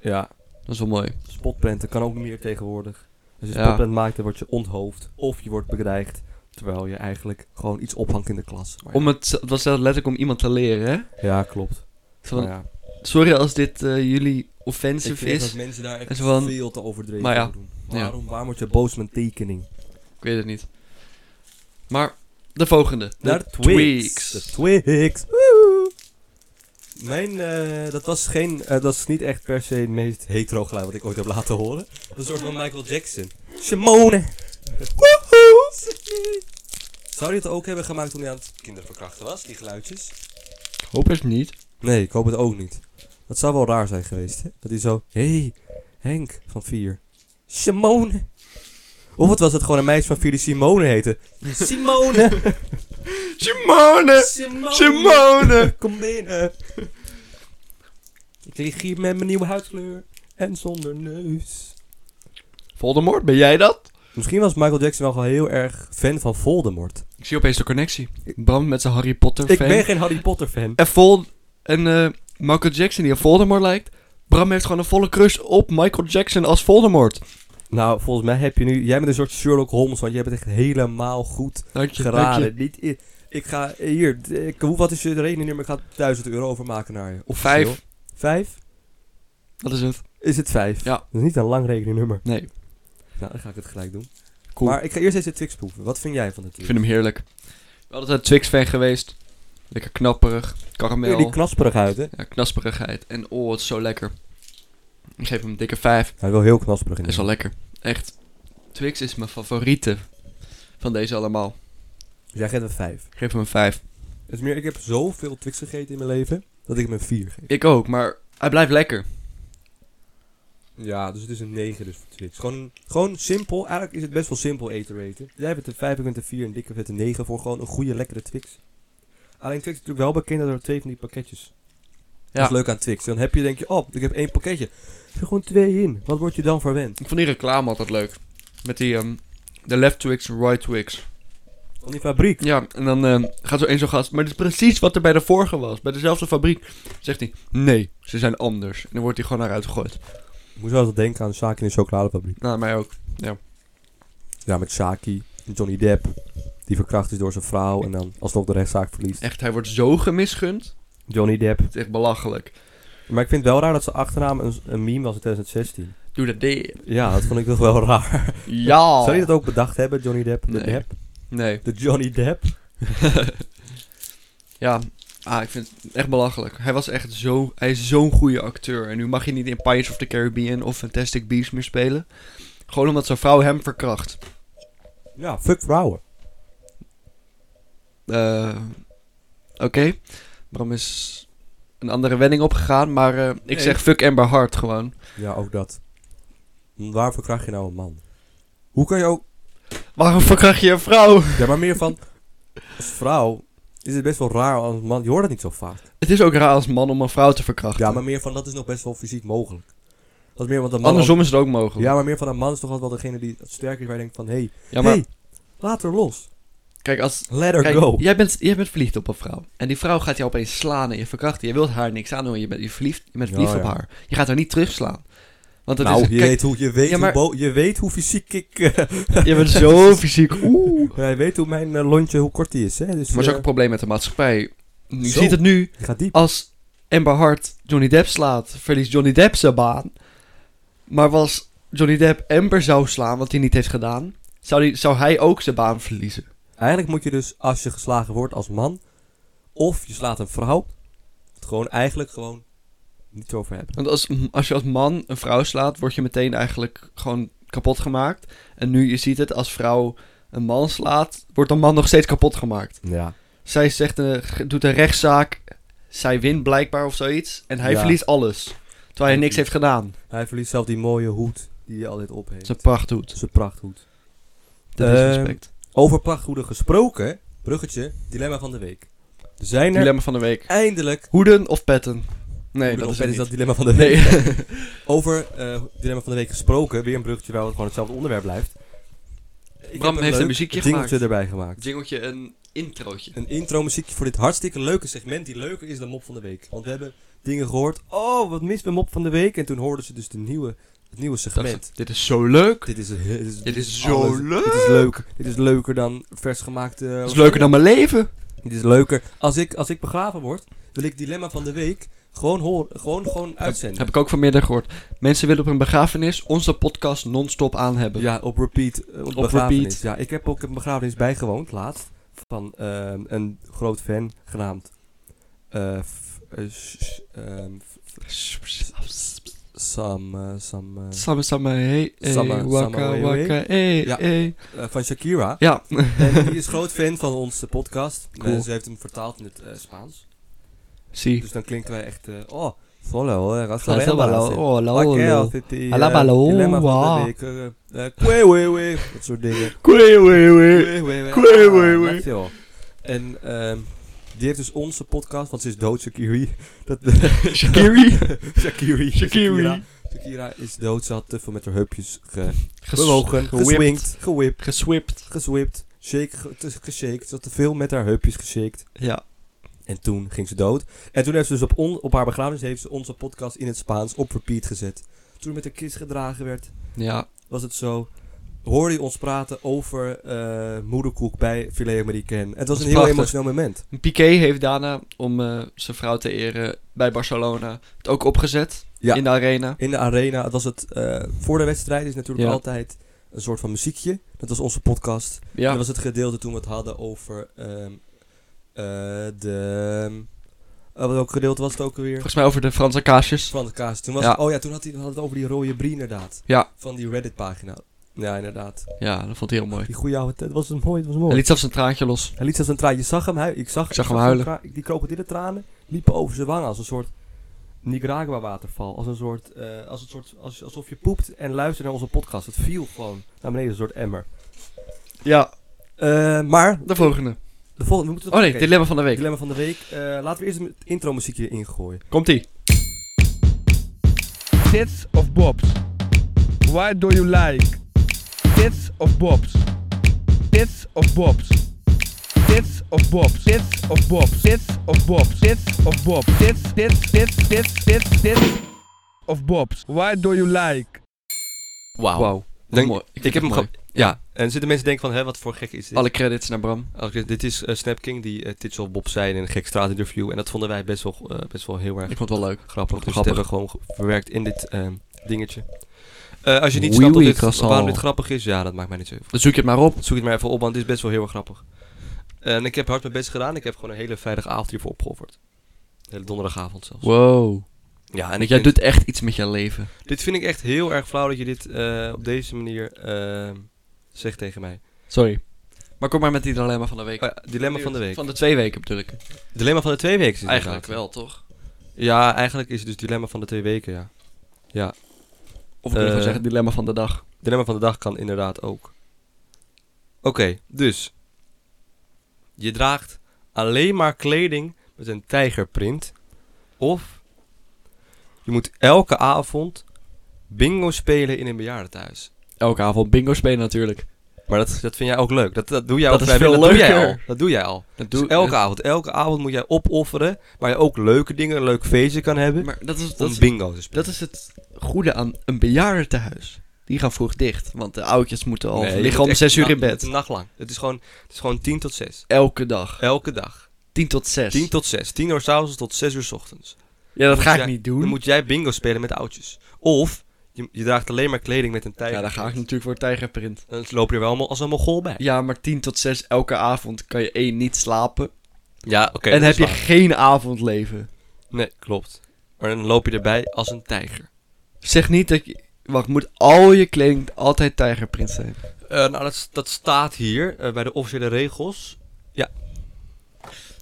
D: Ja,
B: Dat is wel mooi. Oh
D: Spotprenten kan ook meer tegenwoordig. Als je
A: Ja.
D: spotprint maakt, dan word je onthoofd. Of je wordt bedreigd. Terwijl je eigenlijk gewoon iets ophangt in de klas. Maar ja.
B: Om het, het was zelfs letterlijk om iemand te leren, hè?
D: Ja, klopt.
B: Zo van,
D: Maar ja,
B: Sorry als dit eh, jullie
D: ik
B: offensive
D: vind
B: is.
D: dat mensen daar echt
B: is wel een-
D: veel te overdreven
B: Maar ja,
D: over doen.
B: ja.
D: Waarom, waarom word je boos met tekening?
B: Ik weet het niet. Maar de volgende. De
D: Naar
B: Twigs.
D: De Twigs. Woehoe. Mijn, eh, dat was geen, eh, dat is niet echt per se het meest hetero geluid wat ik ooit heb laten horen. Een soort van Michael Jackson. Shimone. Woehoe. Zou je het ook hebben gemaakt toen hij aan het kinderverkrachten was, die geluidjes?
B: Hoop is niet.
D: Nee, ik hoop het ook niet. Dat zou wel raar zijn geweest, hè? Dat hij zo... Hé, hey, Henk van 4. Simone. Of wat was het gewoon een meisje van 4 die Simone heette? Simone!
B: Simone!
D: Simone!
B: Simone!
D: Kom binnen! Ik lig hier met mijn nieuwe huidskleur en zonder neus.
B: Voldemort, ben jij dat?
D: Misschien was Michael Jackson wel gewoon heel erg fan van Voldemort.
B: Ik zie opeens de connectie. Bram met zijn Harry Potter
D: Ik
B: fan.
D: ben geen Harry Potter fan.
B: En, Vol en eh, Michael Jackson die op Voldemort lijkt. Bram heeft gewoon een volle crush op Michael Jackson als Voldemort.
D: Nou, volgens mij heb je nu... Jij bent een soort Sherlock Holmes, want jij bent echt helemaal goed
B: Dank je, dank je.
D: geraden. Niet, i- ik ga hier, d- ik, hoe, wat is je rekeningnummer? Ik ga 1000 euro overmaken naar je.
B: Of vijf.
D: Officieel. Vijf?
B: Dat is het.
D: Is het vijf?
B: Ja.
D: Dat is niet een lang rekeningnummer.
B: Nee.
D: Nou, dan ga ik het gelijk doen.
B: Cool.
D: Maar ik ga eerst deze Twix proeven. Wat vind jij van de
B: Ik
D: Twix?
B: vind hem heerlijk. We hadden een Twix-fan geweest. Lekker knapperig.
D: Weer
B: Karamel.
D: die knasperig uit, hè?
B: ja, knasperigheid. En oh, het is zo lekker. Ik geef hem een dikke 5.
D: Hij is wel heel knasperig in.
B: Is wel lekker. Echt. Twix is mijn favoriete van deze allemaal.
D: Jij geeft een vijf.
B: Ik geef hem een 5.
D: Het is meer, ik heb zoveel Twix gegeten in mijn leven, dat ik hem een vier geef.
B: Ik ook, maar hij blijft lekker.
D: Ja, dus het is een 9 dus voor Twix. Gewoon, gewoon simpel. Eigenlijk is het best wel simpel eten weten. Jij bent een 5, ik ben een 4 en Dikke bent een 9 voor gewoon een goede, lekkere Twix. Alleen Twix is natuurlijk wel bekend dat er twee van die pakketjes.
B: Ja.
D: Dat is leuk aan Twix. Dan heb je denk je, oh, ik heb één pakketje. Er zitten gewoon twee in. Wat word je dan verwend?
B: Ik vond die reclame altijd leuk. Met die, ehm, de left Twix, right Twix.
D: Van die fabriek.
B: Ja, en dan ehm, gaat zo één zo'n gast. Maar dit is precies wat er bij de vorige was. Bij dezelfde fabriek. Zegt hij, nee, ze zijn anders. En dan wordt hij gewoon naar uitgegooid.
D: Ik moest wel eens denken aan Shaki in de chocoladefabriek.
B: Nou, mij ook.
D: Ja, met Shaki. Johnny Depp. Die verkracht is door zijn vrouw en dan alsnog de rechtszaak verliest.
B: Echt, hij wordt zo gemisgund.
D: Johnny Depp.
B: Het is echt belachelijk.
D: Maar ik vind het wel raar dat zijn achternaam een, een meme was in 2016.
B: Doe dat ding.
D: Ja, dat vond ik toch wel <laughs> raar.
B: Ja.
D: Zou je dat ook bedacht hebben, Johnny Depp? De
B: Nee.
D: Depp?
B: Nee.
D: De Johnny Depp?
B: ja, ah, ik vind het echt belachelijk. Hij was echt zo, hij is zo'n goede acteur. En nu mag je niet in Pirates of the Caribbean of Fantastic Beasts meer spelen. Gewoon omdat zijn vrouw hem verkracht.
D: Ja, fuck vrouwen.
B: Eh, Oké, Bram is een andere wending opgegaan, maar eh, ik
D: Nee.
B: zeg fuck Amber Hart gewoon.
D: Ja, ook dat. Waarvoor verkracht je nou een man? Hoe kan je ook...
B: Waarom verkracht je een vrouw?
D: Ja, maar meer van... Als vrouw is het best wel raar als man. Je hoort het niet zo vaak.
B: Het is ook raar als man om een vrouw te verkrachten.
D: Ja, maar meer van dat is nog best wel fysiek mogelijk. Dat is meer want een man...
B: Andersom is het ook mogelijk.
D: Ja, maar meer van een man is toch altijd wel degene die sterk is waar je denkt van... Hé, hey,
B: Ja, maar
D: hey, laat haar los.
B: kijk, als,
D: Let her
B: kijk
D: go.
B: jij, bent, jij bent verliefd op een vrouw. En die vrouw gaat jou opeens slaan en je verkrachten. Je wilt haar niks aan doen, je bent, je verliefd, je bent
D: Ja,
B: verliefd op
D: ja.
B: haar. Je gaat haar niet terugslaan. Want dat
D: nou,
B: is,
D: je,
B: kijk,
D: weet hoe, je, weet
B: Ja, maar-
D: hoe bo- je weet hoe fysiek ik... <laughs> eh,
B: je bent
D: <laughs>
B: zo fysiek. Oeh.
D: Ja, je weet hoe mijn eh, lontje, hoe kort die is, hè. Dus,
B: Maar dat is
D: eh,
B: ook een probleem met de maatschappij. Je
D: Zo.
B: ziet het nu.
D: die gaat diep.
B: Als Amber Hart Johnny Depp slaat, verliest Johnny Depp zijn baan. Maar was Johnny Depp Amber zou slaan, wat hij niet heeft gedaan, zou, die, zou hij ook zijn baan verliezen.
D: Eigenlijk moet je dus, als je geslagen wordt als man, of je slaat een vrouw, het gewoon eigenlijk gewoon niet over hebben.
B: Want als, als je als man een vrouw slaat, word je meteen eigenlijk gewoon kapot gemaakt. En nu, je ziet het, als vrouw een man slaat, wordt een man nog steeds kapot gemaakt.
D: Ja.
B: Zij zegt, eh, ge- doet een rechtszaak, zij wint blijkbaar of zoiets. En hij
D: Ja.
B: verliest alles, terwijl hij niks heeft gedaan.
D: Hij verliest zelf die mooie hoed die je altijd op heeft.
B: Zijn prachthoed.
D: Zijn prachthoed.
B: Dat is
D: Ehm,
B: respect.
D: Over prachthoeden gesproken, bruggetje, dilemma van de week. Er zijn er
B: Dilemma van de week.
D: eindelijk...
B: Hoeden of petten? Nee,
D: Hoe de
B: dat is
D: opzet
B: het
D: dat
B: niet.
D: dilemma van de week.
B: Nee.
D: <laughs> Over eh, dilemma van de week gesproken, weer een bruggetje waar het gewoon hetzelfde onderwerp blijft. Ik
B: Bram
D: heb
B: heeft een
D: leuk
B: muziekje
D: jingletje
B: gemaakt.
D: erbij gemaakt.
B: <laughs> Jingeltje, een introotje.
D: een intro muziekje voor dit hartstikke leuke segment die leuker is dan mop van de week. Want we hebben dingen gehoord. Oh, wat mist bij mop van de week. En toen hoorden ze dus de nieuwe Het nieuwe
B: dacht,
D: segment.
B: dit is zo leuk.
D: Dit is, eh, dit is,
B: Dit is zo
D: alles.
B: leuk.
D: Dit is leuk. Dit is leuker dan vers gemaakte...
B: Dit is leuker dan mijn leven.
D: Dit is leuker. Als ik, als ik begraven word, wil ik Dilemma van de Week gewoon, hoor, gewoon, gewoon uitzenden.
B: Heb ik ook vanmiddag gehoord. Mensen willen op een begrafenis onze podcast non-stop aan hebben.
D: Ja, op repeat. eh, Op,
B: Op
D: begrafenis.
B: repeat.
D: Ja, ik heb ook een begrafenis bijgewoond, laatst. Van ehm, een groot fan genaamd. eh, f- eh, s- ehm, f- Sam. eh, Sam eh,
B: Samme, samme, hey, hey,
D: Samme,
B: waka,
D: samme, hey,
B: waka, hey,
D: Ja.
B: hey.
D: eh, van Shakira.
B: <laughs> Ja,
D: En die is groot fan van onze podcast.
B: Cool.
D: Eh, ze heeft hem vertaald in het eh, Spaans.
B: zie.
D: Dus dan klinken wij echt. eh, oh, solo, eh,
B: Ga zo wel,
D: Razzabella.
B: oh, la,
D: Oké,
B: la, la.
D: als het die,
B: Alla
D: eh,
B: balo,
D: dilemma van
B: wa.
D: de week, eh, eh, kwee, wee, wee, dat soort dingen.
B: Kwee, wee, wee.
D: Kwee, wee, wee,
B: kwee,
D: ah,
B: wee, wee.
D: echt, joh. En ehm, die heeft dus onze podcast, want ze is dood, Shakiri. <laughs> Dat,
B: Shakiri.
D: Shakiri. Shakira.
B: Shakiri.
D: Shakira is dood, ze had te veel met haar heupjes ge
B: Ges-
D: bewogen,
B: gewipt,
D: geswinkt, gewipt,
B: Geswipt.
D: geswipt, shake, ge- te- geshaked. Ze had te veel met haar heupjes geshaked.
B: Ja.
D: En toen ging ze dood. En toen heeft ze dus op, on- op haar begrafenis heeft ze onze podcast in het Spaans op repeat gezet. Toen met de kist gedragen werd,
B: Ja.
D: was het zo. Hoorde je ons praten over eh, moederkoek bij Filet Americain. Het was
B: is
D: een heel
B: prachtig.
D: emotioneel moment.
B: Piqué heeft daarna, om eh, zijn vrouw te eren, bij Barcelona het ook opgezet.
D: Ja.
B: In de arena.
D: In de arena, het was het, eh, voor de wedstrijd is natuurlijk
B: Ja.
D: altijd een soort van muziekje. Dat was onze podcast.
B: Ja.
D: Dat was het gedeelte toen we het hadden over ehm, eh, de... eh, welk gedeelte was het ook alweer?
B: Volgens mij over de Franse kaasjes.
D: Van de kaas. Toen was
B: Ja.
D: het- oh ja, toen had hij had het over die rode brie inderdaad.
B: Ja.
D: Van die Reddit pagina. Ja, inderdaad.
B: Ja, dat vond ik heel mooi.
D: Die goede oude tijd. was een mooi, het was
B: Hij
D: mooi.
B: liet zelfs een traantje los.
D: Hij liet zelfs een traan. Je zag hem, hij, ik zag,
B: Ik zag hem huilen.
D: tra- Die krokodillentranen liepen over zijn wangen als een soort Nicaragua waterval. Als een soort, eh, als een soort als, alsof je poept en luistert naar onze podcast. Het viel gewoon naar beneden, een soort emmer.
B: Ja,
D: Eh, maar,
B: de volgende.
D: de volgende, we moeten
B: Oh nee,
D: oké,
B: dilemma van de week.
D: dilemma van de week. Eh, laten we eerst een intro muziekje ingooien.
B: Komt-ie.
F: Tits of bobs? Why do you like? Tits of bobs? Tits of bobs? Tits of bobs? Tits of bobs? Tits of bobs? Tits of bobs? Tits, tits, tits, tits, tits, tits of bobs? Why do you like?
B: Wauw.
D: Denk-
B: Mooi.
D: Ik, heb
B: vind
D: hem
B: het
D: gehad.
B: mooi.
D: Ja. En zitten mensen denken van, hè, wat voor gek is dit?
B: Alle credits naar Bram.
D: Oké, dit is eh, Snap King, die uh, Titsel Bob zei in een gek straatinterview. En dat vonden wij best wel, eh, best wel heel erg
B: Ik vond het wel leuk.
D: grappig. Dus
B: Grappig.
D: dat hebben we gewoon ge- verwerkt in dit ehm, dingetje. Eh, als je niet
B: Oui,
D: snapt
B: oui,
D: dat dit-
B: croissant.
D: waarom dit grappig is, ja, dat maakt mij niet zoveel.
B: Dan zoek je het maar op.
D: Zoek het maar even op, want dit is best wel heel erg grappig. En ik heb hard mijn best gedaan. Ik heb gewoon een hele vrijdagavond hiervoor opgeofferd. Een hele donderdagavond zelfs.
B: Wow.
D: Ja, en
B: En
D: ik
B: jij
D: vind-
B: doet echt iets met je leven.
D: dit vind ik echt heel erg flauw dat je dit eh, op deze manier ehm, zegt tegen mij.
B: Sorry. Maar kom maar met die dilemma van de week.
D: Oh ja, dilemma van de week.
B: Van de twee weken bedoel ik.
D: Dilemma van de twee weken. is het
B: Eigenlijk
D: inderdaad.
B: wel, toch?
D: Ja, eigenlijk is het dus dilemma van de twee weken, ja.
B: Of ik wil
D: Eh,
B: gewoon zeggen, dilemma van de dag.
D: Dilemma van de dag kan inderdaad ook. Oké, dus. Je draagt alleen maar kleding met een tijgerprint. Of je moet elke avond bingo spelen in een bejaardentehuis.
B: Elke avond bingo spelen natuurlijk.
D: Maar dat, dat vind jij ook leuk. Dat, dat doe jij
B: Dat
D: ook
B: is
D: vrijwillig.
B: veel
D: dat doe jij al.
B: leuker.
D: Dat doe jij al.
B: Dat
D: Dus
B: doe
D: elke avond. Elke avond moet jij opofferen. Waar je ook leuke dingen, een leuk feestje kan hebben.
B: Maar dat is, dat,
D: om
B: is,
D: bingo te spelen.
B: dat is het goede aan een bejaardentehuis. Die gaan vroeg dicht, want de oudjes moeten al
D: Nee, je
B: liggen
D: moet
B: om
D: echt
B: zes uur
D: na-
B: in bed.
D: Nachtlang. Het is, gewoon, het is gewoon 10 tot 6.
B: Elke dag.
D: Elke dag.
B: 10 tot 6.
D: 10 tot 6. 10 uur 's avonds tot 6 uur 's ochtends.
B: Ja, dat
D: moet
B: ga ik
D: jij-
B: niet
D: Dan
B: doen.
D: moet jij bingo spelen met oudjes. Of je, je draagt alleen maar kleding met een tijger.
B: Ja, daar ga ik natuurlijk voor tijgerprint.
D: Dan loop je er wel allemaal als een mogol bij.
B: Ja, maar 10 tot 6 elke avond kan je één niet slapen.
D: Ja, oké.
B: en
D: dat
B: heb
D: is
B: je
D: waar.
B: geen avondleven.
D: Nee, klopt. Maar dan loop je erbij als een tijger.
B: Zeg niet dat je... Wacht, moet al je kleding altijd tijgerprint zijn?
D: Eh, nou, dat, s- dat staat hier eh, bij de officiële regels. Ja.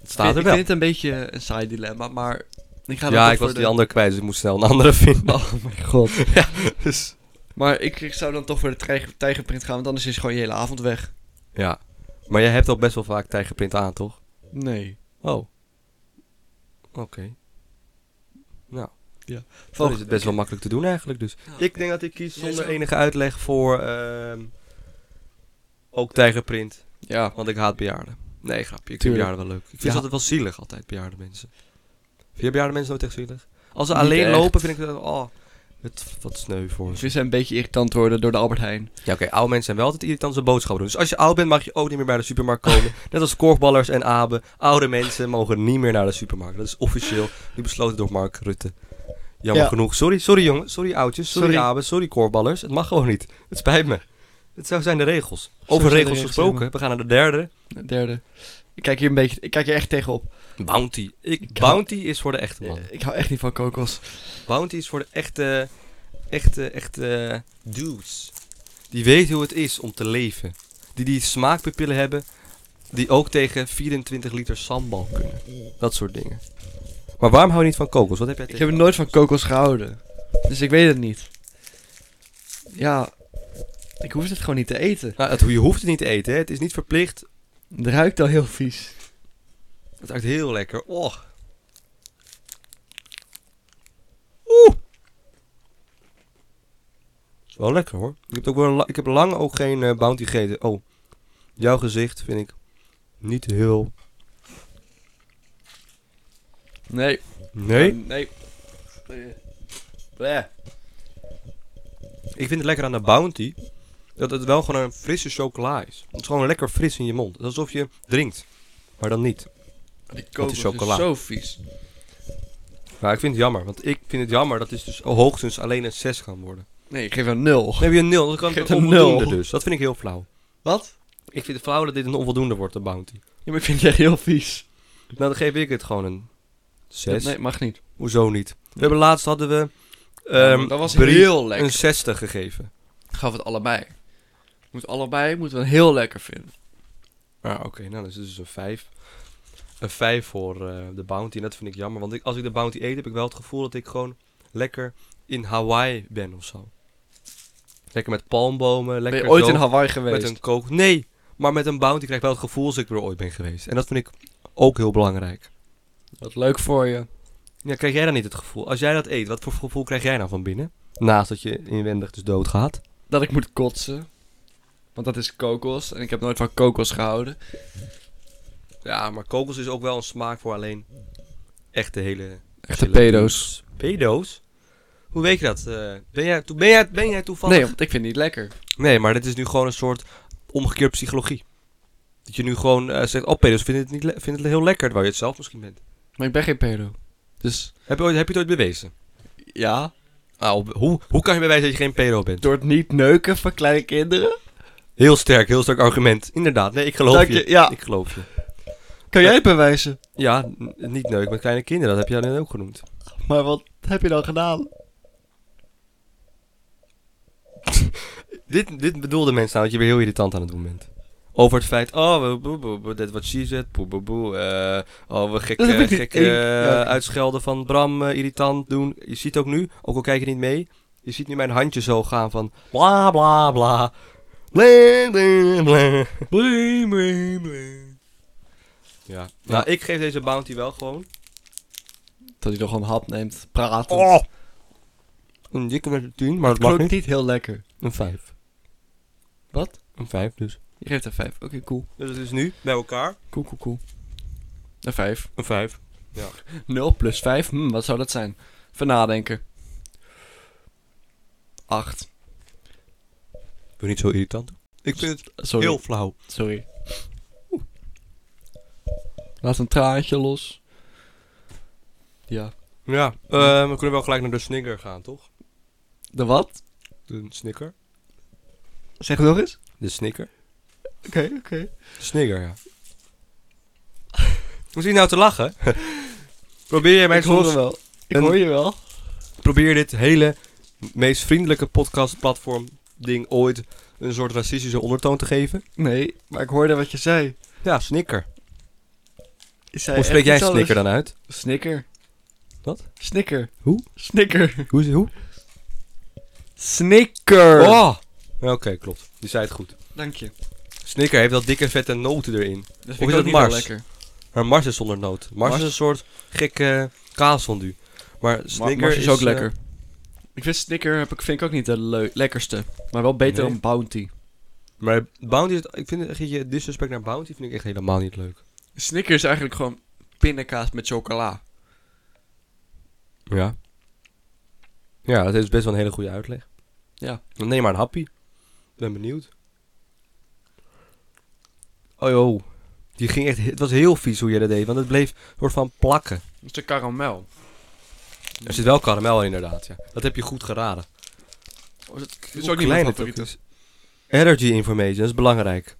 D: Het staat
B: ik,
D: er
B: ik
D: wel.
B: vind het een beetje een saai dilemma, maar... Ik ga
D: Ja, ik was die andere kwijt, dus ik moest snel een andere <laughs> vinden.
B: Oh mijn god.
D: Dus,
B: Maar ik, ik zou dan toch voor de tijger, tijgerprint gaan, want anders is gewoon je hele avond weg.
D: ja. Maar jij hebt al best wel vaak tijgerprint aan, toch?
B: Nee.
D: Oh. Oké. Nou. Dan is
B: Volgende.
D: het best wel makkelijk te doen eigenlijk dus.
B: Ja.
D: Ik denk dat ik kies
B: Jij
D: zonder
B: zou-
D: enige uitleg voor ehm, ook tijgerprint.
B: Ja.
D: Want ik haat bejaarden. Nee, grapje. Ik vind
B: Tuurlijk.
D: bejaarden wel leuk. Ik vind
B: Ja.
D: ze altijd wel zielig altijd, bejaarde mensen. Vind je bejaarde mensen nooit echt zielig? Als ze
B: Niet
D: alleen
B: echt.
D: lopen vind ik dat, oh, het wat sneu voor
B: Ik
D: ze.
B: vind ze Dus een beetje irritant worden door de Albert Heijn.
D: Ja, oké, oude mensen zijn wel altijd irritant zijn boodschappen doen. Dus als je oud bent, mag je ook niet meer bij de supermarkt komen. Net als korfballers en aben. Oude mensen mogen niet meer naar de supermarkt. Dat is officieel nu besloten door Mark Rutte. Jammer
B: Ja.
D: genoeg. Sorry, sorry jongen. Sorry oudjes. Sorry,
B: Sorry.
D: aben. Sorry korfballers. Het mag gewoon niet. Het spijt me. Het zo zijn de regels. Over
B: zijn de
D: regels
B: regels,
D: gesproken.
B: Emma.
D: We gaan naar de derde.
B: Derde. Ik kijk hier een beetje, ik kijk hier echt tegenop.
D: Bounty. Ik,
B: Ik hou-
D: bounty is voor de echte man.
B: Ik hou echt niet van kokos.
D: Bounty is voor de echte, echte, echte dudes. Die weten hoe het is om te leven. Die die smaakpapillen hebben. Die ook tegen 24 liter sambal kunnen. Dat soort dingen. Maar waarom hou je niet van kokos? Wat heb jij
B: Ik
D: tegen
B: heb nooit van kokos gehouden. Dus ik weet het niet. Ja, ik hoef het gewoon niet te eten.
D: Nou, het, je hoeft het niet te eten. Hè? Het is niet verplicht.
B: Het ruikt al heel vies.
D: Het ruikt heel lekker. Oh. Och. Oeh. Is wel lekker hoor. Ik heb, ook wel la- ik heb lang ook geen eh, bounty gegeten. Oh. Jouw gezicht vind ik niet heel...
B: Nee.
D: Nee.
B: Oh, Nee. Bleh.
D: Ik vind het lekker aan de Bounty dat het wel gewoon een frisse chocola is. Het is gewoon lekker fris in je mond. Het is alsof je drinkt, maar dan niet.
B: Die
D: kokos
B: kokos
D: is
B: is,
D: chocola.
B: zo vies.
D: Maar ik vind het jammer, want ik vind het jammer dat het dus hoogstens alleen een 6 kan worden.
B: Nee, ik geef een nul.
D: Dan heb je een 0, dan kan
B: Geef
D: het
B: een
D: een onvoldoende
B: nul.
D: dus. Dat vind ik heel flauw.
B: Wat?
D: Ik vind het flauw dat dit een onvoldoende wordt, de Bounty.
B: Ja, maar ik vind het echt heel vies.
D: Nou, dan geef ik het gewoon een 6.
B: Nee, mag niet.
D: Hoezo niet? We hebben laatst hadden we ehm,
B: dat was
D: Brie
B: heel lekker.
D: een 60 gegeven.
B: Gaf het allebei. Moet allebei moeten we een heel lekker vinden.
D: Ja, oké, nou dat is dus een 5. Een 5 voor eh, de bounty. En dat vind ik jammer. Want ik, als ik de bounty eet, heb ik wel het gevoel dat ik gewoon lekker in Hawaii ben of zo. Lekker met palmbomen. Lekker
B: ben je ooit
D: zo,
B: in Hawaii
D: Met
B: geweest?
D: een kook. Nee, maar met een bounty krijg ik wel het gevoel als ik er ooit ben geweest. En dat vind ik ook heel belangrijk.
B: Wat leuk voor je.
D: Ja, krijg jij dan niet het gevoel? Als jij dat eet, wat voor gevoel krijg jij nou van binnen? Naast dat je inwendig dus doodgaat.
B: Dat ik moet kotsen. Want dat is kokos. En ik heb nooit van kokos gehouden.
D: Ja, maar kokos is ook wel een smaak voor alleen echte hele
B: Echte pedo's.
D: Pedo's? Hoe weet je dat? Eh, ben, jij, toe- ben, jij, ben jij toevallig...
B: Nee,
D: Nee.
B: want ik vind het niet lekker.
D: maar dit is nu gewoon een soort omgekeerde psychologie. Dat je nu gewoon eh, zegt, oh, pedo's vinden het, niet le- vinden het heel lekker, waar je het zelf misschien bent.
B: Maar ik ben geen pedo. Dus
D: Heb je, ooit, heb je het ooit bewezen?
B: ja,
D: Ah, op- hoe, hoe kan je bewijzen dat je geen pedo bent?
B: door het niet neuken van kleine kinderen.
D: Heel sterk, heel sterk argument. Inderdaad, nee, ik geloof
B: Dank
D: je.
B: je, ja.
D: Ik geloof je.
B: Kan jij het bewijzen?
D: Ja, n- niet leuk met kleine kinderen, dat heb je net ook genoemd.
B: Maar wat heb je dan gedaan?
D: Dit, dit bedoelde mensen nou, dat je weer heel irritant aan het doen bent. Over het feit, oh, we- boe, boe, boe, dat wat she said, boe, boe, boe, eh, oh, we gekke,
B: Dat vind ik niet
D: gekke
B: eng. Ja,
D: eh,
B: oké.
D: uitschelden van Bram, eh, irritant doen. Je ziet ook nu, ook al kijk je niet mee, je ziet nu mijn handje zo gaan van bla bla bla. Blee, blee, blee. Blee, blee, blee. Ja. Nou, ik geef deze bounty wel gewoon.
B: Dat hij nog een hap neemt, praten.
D: Oh! Een dikke met een 10, maar dat mag
B: klonk
D: niet.
B: niet heel lekker.
D: Een 5.
B: Wat?
D: Een 5 dus.
B: Je geeft een 5. Oké, cool.
D: Dus het is nu bij elkaar
B: Cool, cool, cool. Een 5.
D: een 5.
B: 0 plus 5, hm, wat zou dat zijn? Even nadenken. 8.
D: Doe niet zo irritant. Ik vind het
B: Sorry.
D: heel flauw.
B: Sorry. Laat een traantje los. Ja.
D: Ja, ehm, we kunnen wel gelijk naar de snicker gaan, toch?
B: De wat?
D: De snicker?
B: Zeg het nog eens.
D: De snicker?
B: Oké, oké.
D: De snicker, ja. <laughs> Hoe zit je nou te lachen? <laughs> probeer je mij
B: ik hoor
D: soms...
B: hem wel. Ik
D: een-
B: hoor je wel.
D: Probeer dit hele meest vriendelijke podcastplatform ding ooit een soort racistische ondertoon te geven?
B: Nee, maar ik hoorde wat je zei.
D: Ja, snicker.
B: Je zei
D: Hoe
B: echt
D: spreek jij
B: iets anders.
D: snicker dan uit?
B: Snikker.
D: Wat?
B: Snikker.
D: Hoe?
B: Snikker.
D: Hoe? hoe?
B: Snikker.
D: Oh! Oké, klopt. Je zei het goed.
B: Dank je.
D: Snicker heeft wel dikke vette noten erin.
B: Dat
D: Of is
B: vind ik
D: dat
B: ook niet wel
D: Mars?
B: lekker.
D: Maar Mars is zonder noot. Mars,
B: Mars?
D: is een soort gekke kaasfondue. Maar
B: Maar
D: Snicker
B: Mars is ook
D: eh,
B: lekker. Ik vind Snicker heb ik, vind ik ook niet de leu- lekkerste. Maar wel beter
D: Nee.
B: dan Bounty.
D: Maar Bounty, is- ik vind het je disrespect naar Bounty vind ik echt helemaal niet leuk.
B: Snicker is eigenlijk gewoon pindakaas met chocola.
D: Ja. Ja, dat is best wel een hele goede uitleg.
B: Ja.
D: Dan neem maar een happy. Ben benieuwd. Oh joh. Die ging echt, het was heel vies hoe jij dat deed, want het bleef soort van plakken.
G: Dat is de karamel.
D: Er zit wel karamel in, inderdaad, ja. Dat heb je goed geraden.
G: Oh, dat dat is
D: Hoe
G: ook niet
D: klein
G: mijn
D: het
G: favoriete.
D: ook is. Energy information, dat is belangrijk.
G: Ik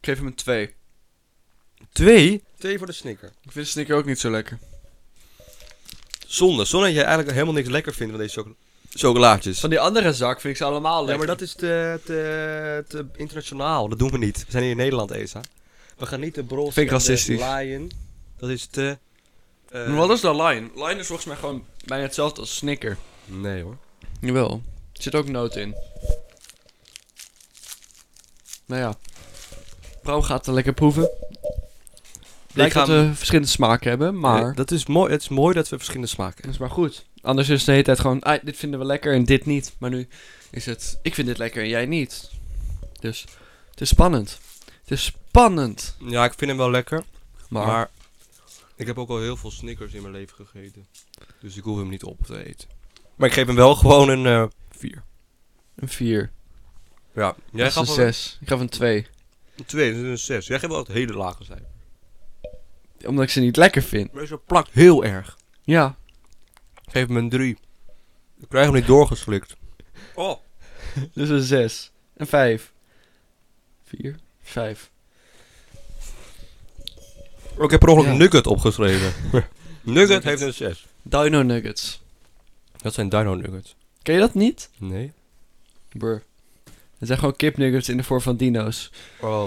G: geef hem een 2. Ik
D: Twee? Twee voor de snicker.
G: vind de snicker ook niet zo lekker.
D: Zonde, zonde dat je eigenlijk helemaal niks lekker vindt van deze chocola chocolaatjes.
B: Van die andere zak vind ik ze allemaal lekker.
D: Ja, maar dat is te, te, te internationaal. Dat doen we niet. We zijn hier in Nederland, Esa. We gaan niet de Bros
B: Vind ik
D: en de
B: racistisch.
D: Lion. Dat is te... eh,
G: Maar wat is de Lion? Lion is volgens mij gewoon bijna hetzelfde als snicker.
D: Nee hoor.
B: Jawel. Er zit ook noot in. Nou ja. Bram gaat het lekker proeven. Blijkt
D: ga
B: dat we verschillende smaken hebben, maar...
D: Eh, dat is mooi, het is mooi dat we verschillende smaken
B: Dat is maar goed. Anders is het de hele tijd gewoon... "Ah, dit vinden we lekker en dit niet. Maar nu is het... Ik vind dit lekker en jij niet. Dus het is spannend. Het is spannend.
D: hebben. Ja, ik vind hem wel lekker.
B: Maar,
D: maar ik heb ook al heel veel Snickers in mijn leven gegeten. Dus ik hoef hem niet op te eten. Maar ik geef hem wel gewoon een... eh, vier.
B: een 4.
D: Ja. Jij
B: Dat is een
D: gaf wel
B: 6. Ik gaf een 2.
D: een twee, dus een zes. Jij geeft wel het hele lage cijfer.
B: Omdat ik ze niet lekker vind.
D: Maar ze plakt heel erg.
B: <laughs> Ja.
D: Geef hem een drie. Ik krijg hem niet doorgeslikt. Oh.
B: Dus een 6. Een 5. 4. 5.
D: Ik heb per ongeluk
B: Ja.
D: Nugget opgeschreven. <laughs> Nugget heeft een 6.
B: Dino Nuggets.
D: Dat zijn Dino Nuggets.
B: Ken je dat niet?
D: Nee.
B: Brr. Het zijn gewoon kipnuggets in de vorm van dino's.
D: Oh.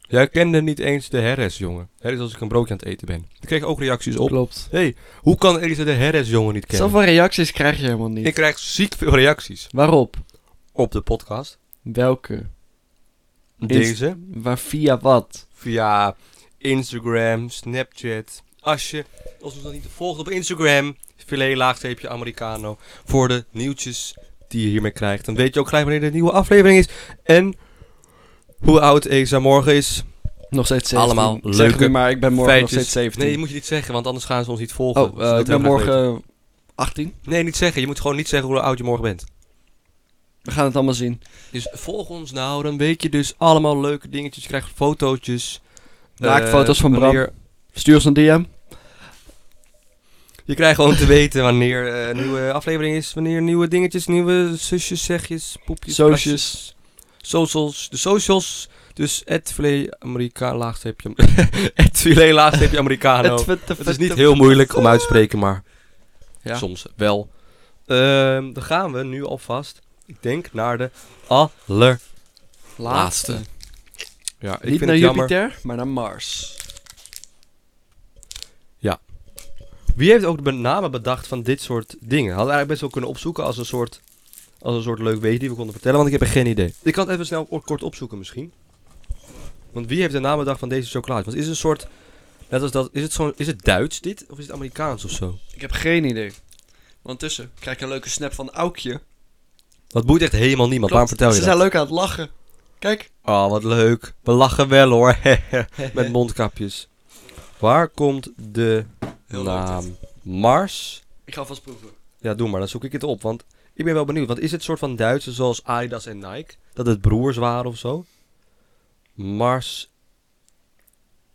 D: Jij kende niet eens de Herres, jongen. Herres als ik een broodje aan het eten ben. Ik kreeg ook reacties op.
B: Klopt.
D: hey, hoe kan Elisa de Herres, jongen niet kennen?
B: Zoveel reacties krijg je helemaal niet.
D: Ik krijg ziek veel reacties
B: Waarop?
D: op de podcast.
B: Welke?
D: Deze.
B: Waar via wat?
D: Via Instagram, Snapchat. Als je ons nog niet volgt op Instagram, filet laagstreepje Americano. Voor de nieuwtjes die je hiermee krijgt. Dan weet je ook gelijk wanneer de nieuwe aflevering is. En hoe oud Esa morgen is.
B: Nog steeds 17.
D: Allemaal
B: Zeg
D: leuke
B: nu maar, ik ben morgen
D: feitjes.
B: nog steeds 17.
D: Nee, je moet je niet zeggen, want anders gaan ze ons niet volgen.
B: oh,
D: Dus dat
B: eh, ik ben
D: hebben we graag
B: morgen 18.
D: weten. Nee, niet zeggen. Je moet gewoon niet zeggen hoe oud je morgen bent.
B: We gaan het allemaal zien.
D: Dus volg ons nou, dan weet je dus allemaal leuke dingetjes. Je krijgt fotootjes. Eh,
B: Naaktfoto's van Bram.
D: wanneer-
B: Stuur ons een DM.
D: Je krijgt gewoon te weten wanneer eh, een nieuwe aflevering is, wanneer nieuwe dingetjes, nieuwe zusjes, zegjes, poepjes,
B: Socials.
D: plasjes, socials, de socials. Dus het filet Amerika laagstreepje, <laughs> het filet laagstreepje Americano.
B: Het vet-
D: Het is niet heel moeilijk om uit te spreken, maar
B: Ja.
D: soms wel. Ehm, dan gaan we nu alvast, ik denk, naar de aller...
B: laatste.
D: Ja, ik
B: Eh, niet
D: vind
B: naar
D: het jammer.
B: Jupiter, maar naar Mars.
D: Wie heeft ook de namen bedacht van dit soort dingen? Hadden we eigenlijk best wel kunnen opzoeken als een soort, als een soort leuk weetje die we konden vertellen, want ik heb er geen idee. Ik kan het even snel o- kort opzoeken misschien. Want wie heeft de naam bedacht van deze chocolade? Want is het een soort, net als dat, is het, zo'n, is het Duits dit? Of is het Amerikaans of zo?
B: Ik heb geen idee. Want tussen krijg ik een leuke snap van Aukje.
D: Dat boeit echt helemaal niemand, waarom vertel je
B: Ze
D: dat?
B: zijn leuk aan het lachen. Kijk.
D: Oh, wat leuk. We lachen wel hoor. <laughs> Met
B: <laughs>
D: mondkapjes. Waar komt de
B: Heel leuk
D: naam Mars?
B: Ik ga vast proeven.
D: Ja, doe maar. Dan zoek ik het op. Want ik ben wel benieuwd. Want is het soort van Duitse zoals Adidas en Nike? Dat het broers waren of zo? Mars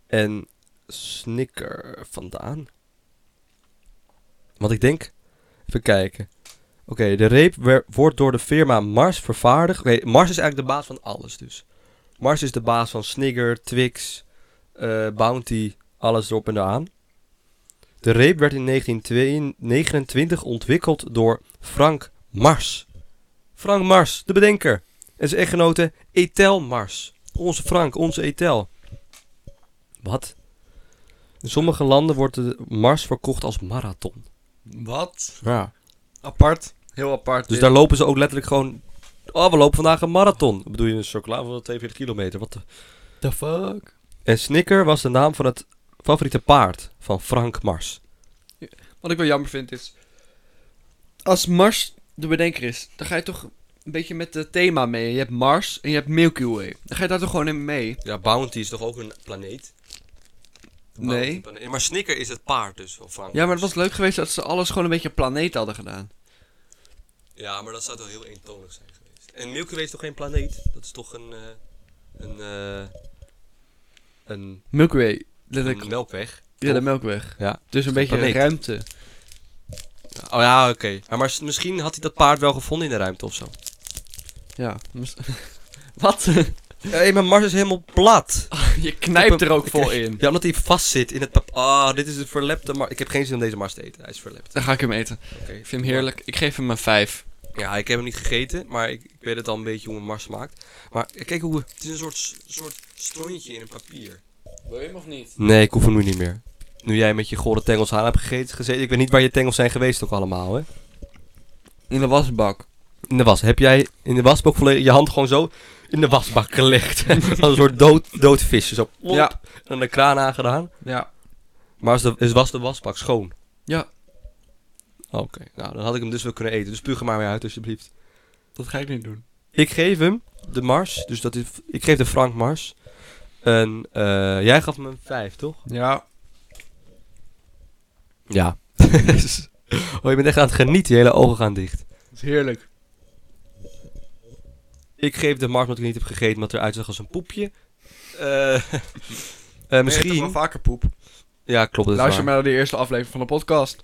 D: en Snicker vandaan. Want ik denk... Even kijken. Oké, de reep wer- wordt door de firma Mars vervaardigd. Oké, Mars is eigenlijk de baas van alles dus. Mars is de baas van Snigger, Twix, eh, Bounty, alles erop en eraan. De reep werd in 1929 ontwikkeld door Frank Mars. Frank Mars, de bedenker. En zijn echtgenote Etel Mars. Onze Frank, onze Etel. Wat? In sommige landen wordt de Mars verkocht als marathon.
B: Wat?
D: Ja.
B: Apart. Heel apart.
D: Dus daar lopen ze ook letterlijk gewoon... Oh, we lopen vandaag een marathon. Bedoel je een chocola van 42 kilometer? Wat de...
B: The fuck?
D: En Snicker was de naam van het favoriete paard van Frank Mars.
B: Wat ik wel jammer vind is... Als Mars de bedenker is, dan ga je toch een beetje met het thema mee. Je hebt Mars en je hebt Milky Way. Dan ga je daar toch gewoon in mee.
D: Ja, Bounty is toch ook een planeet?
B: Nee.
D: Bounty- Maar Snicker is het paard dus van Frank
B: Ja, maar het was leuk geweest dat ze alles gewoon een beetje planeet hadden gedaan.
D: Ja, maar dat zou toch heel eentonig zijn geweest. En Milky Way is toch geen planeet? Dat is toch een... eh, een, eh, een,
B: Milky Way.
D: een
B: Letterlijk.
D: melkweg.
B: Ja, de Melkweg.
D: Ja.
B: Dus een beetje
D: Planeet.
B: ruimte.
D: Oh ja, oké. Ja, maar s- misschien had hij dat paard wel gevonden in de ruimte of zo.
B: Ja. <laughs> mis- <laughs> Wat?
D: Hé, maar Mars is helemaal plat.
H: Je knijpt er ook vol in.
D: Ja, omdat hij vast zit in het pap. Ah, dit is een verlepte Mars. Ik heb geen zin om deze Mars te eten. Hij is verlept.
H: Dan ga ik hem eten.
D: Oké.
H: Ik vind hem heerlijk. Ik geef hem een 5.
D: Ja, ik heb hem niet gegeten, maar ik, ik weet het al een beetje hoe een Mars smaakt. Maar eh, kijk hoe... Het is een soort, soort stroontje in een papier.
H: Wil je hem of niet?
D: Nee, ik hoef hem nu niet meer. Nu jij met je gore tengels aan hebt gegeten, gezeten. Ik weet niet waar je tengels zijn geweest ook allemaal, hè?
B: In de wasbak.
D: In de was. Heb jij in de wasbak volledig je hand gewoon zo in de wasbak gelegd? <laughs> Als een soort dood, dood visje. Zo plop.
B: Ja.
D: En dan de kraan aangedaan.
B: Ja.
D: Maar is de, is, was de wasbak schoon?
B: Ja.
D: Oké. Nou, dan had ik hem dus wel kunnen eten. Dus puug hem maar weer uit, alsjeblieft.
B: Dat ga ik niet doen.
D: Ik geef hem de Mars. Dus dat is... Ik geef de Frank Mars. En eh, jij gaf hem een 5, toch? <laughs>
B: Ja.
D: Ja. oh, je bent echt aan het genieten. Je hele ogen gaan dicht.
B: Dat is heerlijk.
D: Ik geef de Mars omdat ik niet heb gegeten, omdat het eruit zag als een poepje. Eh, <laughs> eh, misschien.
B: vaker poep.
D: Ja, klopt. Dat is
B: Luister
D: waar.
B: maar naar de eerste aflevering van de podcast.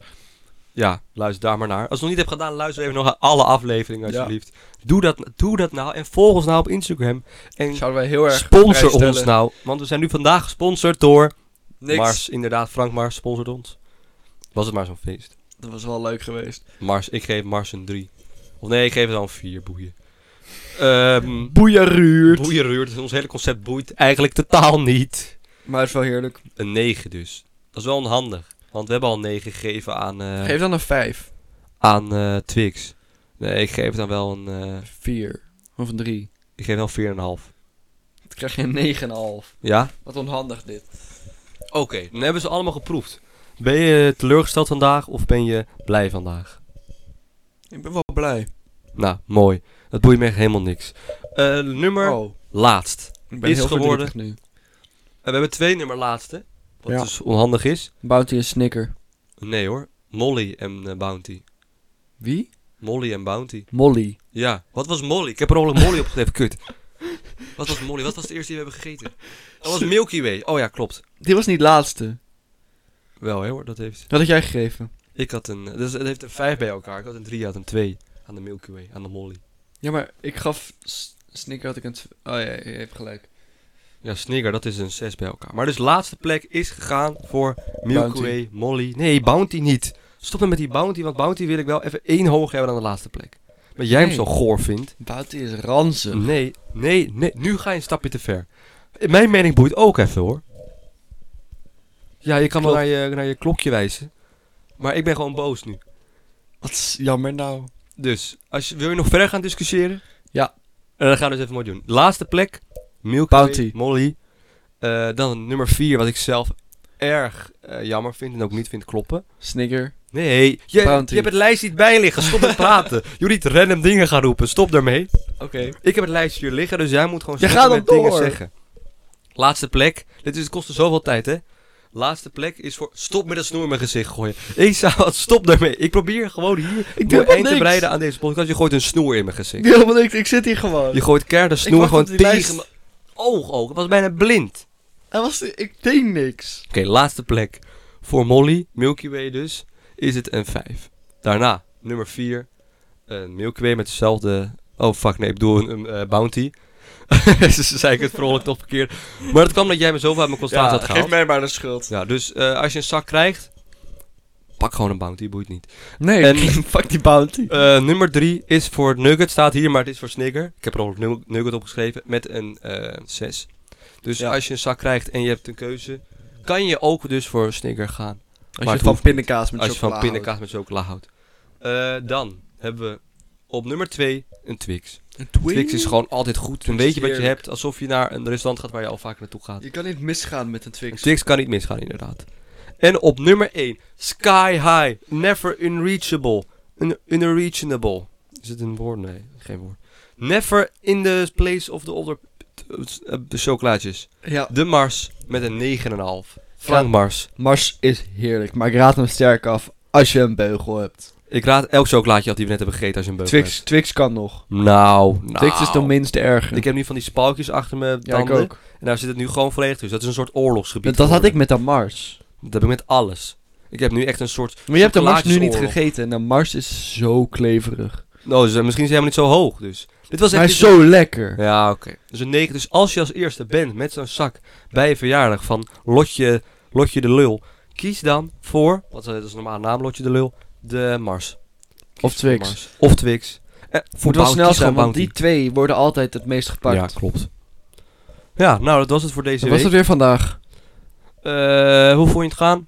D: Ja, luister daar maar naar. Als je het nog niet hebt gedaan, luister even nog naar alle afleveringen,
B: Ja.
D: alsjeblieft. Doe, dat, doe dat nou en volg ons nou op Instagram. En
B: Zouden wij
D: eh,
B: heel erg
D: sponsor
B: prijs
D: ons
B: stellen.
D: nou. Want we zijn nu vandaag gesponsord door
B: Niks.
D: Mars. Inderdaad, Frank Mars sponsort ons. Was het maar zo'n feest.
B: Dat was wel leuk geweest.
D: Mars, ik geef Mars een 3. Of nee, ik geef het al een 4, boeien. Ehm
B: Boeienruurt.
D: boeienruurt, dus ons hele concept boeit eigenlijk totaal niet.
B: Maar het is wel heerlijk.
D: Een 9 dus. Dat is wel onhandig. Want we hebben al 9 gegeven aan, eh,
B: Geef dan een 5.
D: aan eh, Twix. Nee, ik geef dan wel een, eh,
B: 4. Of een 3.
D: ik geef wel 4,5.
B: Dan krijg je een 9,5.
D: Ja?
B: Wat onhandig dit.
D: Oké, dan hebben ze allemaal geproefd. Ben je teleurgesteld vandaag of ben je blij vandaag?
B: Ik ben wel blij.
D: Nou, mooi. Dat boeit me echt helemaal niks. Eh, nummer
B: Oh,
D: laatst.
B: ik ben
D: Is
B: heel
D: geworden.
B: verdrietig nu.
D: En Eh, we hebben twee nummer laatste. Wat
B: Ja.
D: dus onhandig is.
B: Bounty en Snicker.
D: Nee hoor. Molly en eh, Bounty.
B: Wie?
D: Molly en Bounty.
B: Molly.
D: Ja. Wat was Molly? Ik heb er ongeluk Molly opgeschreven. Kut. Wat was Molly? Wat was de eerste die we hebben gegeten? Dat was Milky Way. Oh ja, klopt.
B: Dit was niet de laatste.
D: Wel hè, hoor, dat heeft...
B: Dat had jij gegeven.
D: Ik had een... Dus het heeft een vijf bij elkaar. Ik had een drie, je had een twee. Aan de Milky Way, aan de Molly.
B: Ja, maar ik gaf S- Snicker had ik een... tw- Oh ja, je hebt gelijk.
D: Ja, Snigger, dat is een zes bij elkaar. Maar dus laatste plek is gegaan voor Milky
B: Bounty.
D: Way, Molly. Nee, Bounty niet. Stop dan met die Bounty, want Bounty wil ik wel even één hoger hebben dan de laatste plek. Maar jij
B: Nee.
D: hem zo goor vindt.
B: Bounty is ranzig.
D: Nee, nee, nee. Nu ga je een stapje te ver. Mijn mening boeit ook even hoor. Ja, je kan wel naar je, naar je klokje wijzen. Maar ik ben gewoon boos nu.
B: Wat is jammer nou.
D: Dus, als je, wil je nog verder gaan discussiëren?
B: Ja.
D: En dan gaan we dus even mooi doen. Laatste plek. Milky
B: Bounty.
D: Way, Molly. Eh, dan nummer 4, wat ik zelf erg eh, jammer vind en ook niet vind kloppen.
B: Snicker.
D: Nee, je,
B: Bounty.
D: je hebt het lijst niet bij liggen. Stop met
B: <laughs>
D: praten. Jullie niet random dingen gaan roepen. Stop daarmee.
B: Oké.
D: Ik heb het lijstje hier liggen, dus jij moet gewoon
B: Je
D: stoppen
B: gaat
D: met
B: hem
D: dingen
B: door.
D: zeggen. Laatste plek. Dit is, het kostte zoveel tijd, hè? Laatste plek is voor... Stop met dat snoer in mijn gezicht gooien. Ik zou... wat, <laughs> Stop daarmee. Ik probeer gewoon hier...
B: Ik doe
D: door
B: helemaal
D: eind te
B: niks.
D: breiden aan deze podcast. Je gooit een snoer in mijn
B: Ik
D: gezicht.
B: doe helemaal niks. Ik zit hier gewoon.
D: Je gooit keihard een snoer
B: wacht
D: gewoon
B: op die lijst.
D: tegen mijn oog ook. Ik was bijna blind.
B: Hij was... Ik deed niks.
D: Oké, laatste plek. Voor Molly, Milky Way dus, is het een 5. Daarna, nummer 4. Een Milky Way met dezelfde... Oh fuck, nee, ik bedoel een, een, eh, Bounty. <laughs> dus zei ik het per ongeluk toch verkeerd. Maar dat kwam dat jij me zoveel uit mijn constaat had gehaald.
B: mij maar de schuld.
D: Ja, dus eh, als je een zak krijgt, pak gewoon een Bounty, boeit niet.
B: Nee,
D: En-
B: <laughs> fuck die bounty.
D: Eh, nummer 3 is voor Nugget, staat hier, maar het is voor Snicker. Ik heb er al Nugget opgeschreven met een 6. dus
B: Ja.
D: als je een zak krijgt en je hebt een keuze, kan je ook dus voor Snicker gaan. Maar
B: Als je
D: het
B: van
D: hoeft
B: pindakaas met
D: Als je van
B: chocola houdt.
D: pindakaas met chocola houdt. Eh, dan hebben we op nummer 2 een Twix.
B: Een Twix.
D: Twix is gewoon altijd goed. Dan
B: Twix
D: weet
B: is
D: je wat je
B: heerlijk.
D: hebt. Alsof je naar een restaurant gaat waar je al vaker naartoe gaat.
B: Je kan niet misgaan met een
D: Een
B: Twix.
D: Twix kan niet misgaan inderdaad. En op nummer 1. Sky High. Never unreachable. Un unreachable. Is het een woord? Nee, geen woord. Never in the place of the other... eh, De chocolaatjes.
B: Ja,
D: De Mars met een 9,5. Frank
B: Ja.
D: Mars.
B: Mars is heerlijk, maar ik raad hem sterk af als je een beugel hebt.
D: Ik raad elk chocolaatje dat die we net hebben gegeten als je een beuk
B: Twix, Twix kan nog.
D: hebt. Nou, nou.
B: Twix is de minste erger.
D: Ik heb nu van die spalkjes achter mijn
B: ja, ik
D: tanden.
B: ook.
D: En daar zit het nu gewoon volledig tussen. Dat is een soort oorlogsgebied.
B: Dat, dat had ik
D: geworden.
B: met de Mars.
D: Dat heb ik met alles. Ik heb nu echt een soort...
B: Maar je hebt de Mars nu niet
D: chocolaatjesoorlog.
B: gegeten. En de Mars is zo kleverig.
D: Nou, dus, eh, misschien is hij helemaal niet zo hoog, dus. Dit was
B: Maar hij
D: echt...
B: is zo lekker.
D: Ja, oké. Dus een negen. Dus als je als eerste bent met zo'n zak bij een verjaardag van Lotje, Lotje de Lul, kies dan voor, wat is dat is normaal naam, Lotje de Lul, de Mars. Kies
B: Of
D: voor de
B: Twix.
D: Mars. Of Twix. Eh, voor
B: Moet wel
D: Bounty,
B: snel
D: kies
B: zijn,
D: gewoon
B: want die
D: Bounty.
B: twee worden altijd het meest gepakt.
D: Ja, klopt. Ja, nou, dat was het voor deze
B: Dat was
D: week.
B: het weer vandaag.
D: Eh, hoe vond je het gaan?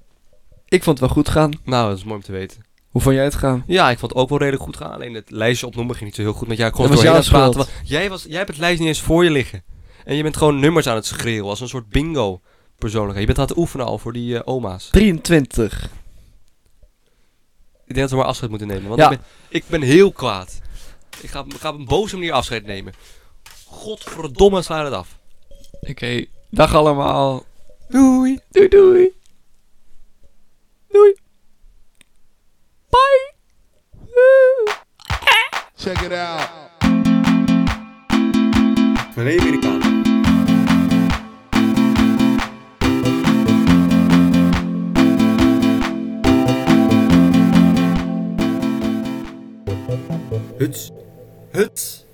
B: Ik vond het wel goed gaan.
D: Nou, dat is mooi om te weten.
B: Hoe vond jij het gaan?
D: Ja, ik vond het ook wel redelijk goed gaan. Alleen het lijstje opnoemen ging niet zo heel goed met jou. Ik kon
B: Dat
D: er
B: was
D: doorheen
B: jouw
D: aan het
B: schuld.
D: praten, want Jij, was, jij hebt het lijstje niet eens voor je liggen. En je bent gewoon nummers aan het schreeuwen. Als een soort bingo persoonlijkheid. Je bent aan het oefenen al voor die eh, oma's.
B: 23.
D: Ik denk dat we maar afscheid moeten nemen. Want
B: Ja.
D: ik, ben, ik ben heel kwaad. Ik ga, ik ga op een boze manier afscheid nemen. Godverdomme, sla het af.
B: Oké, dag allemaal.
D: Doei.
B: Doei doei.
I: Check it out.
D: Meneer Amerikaan.
J: Huts. Huts.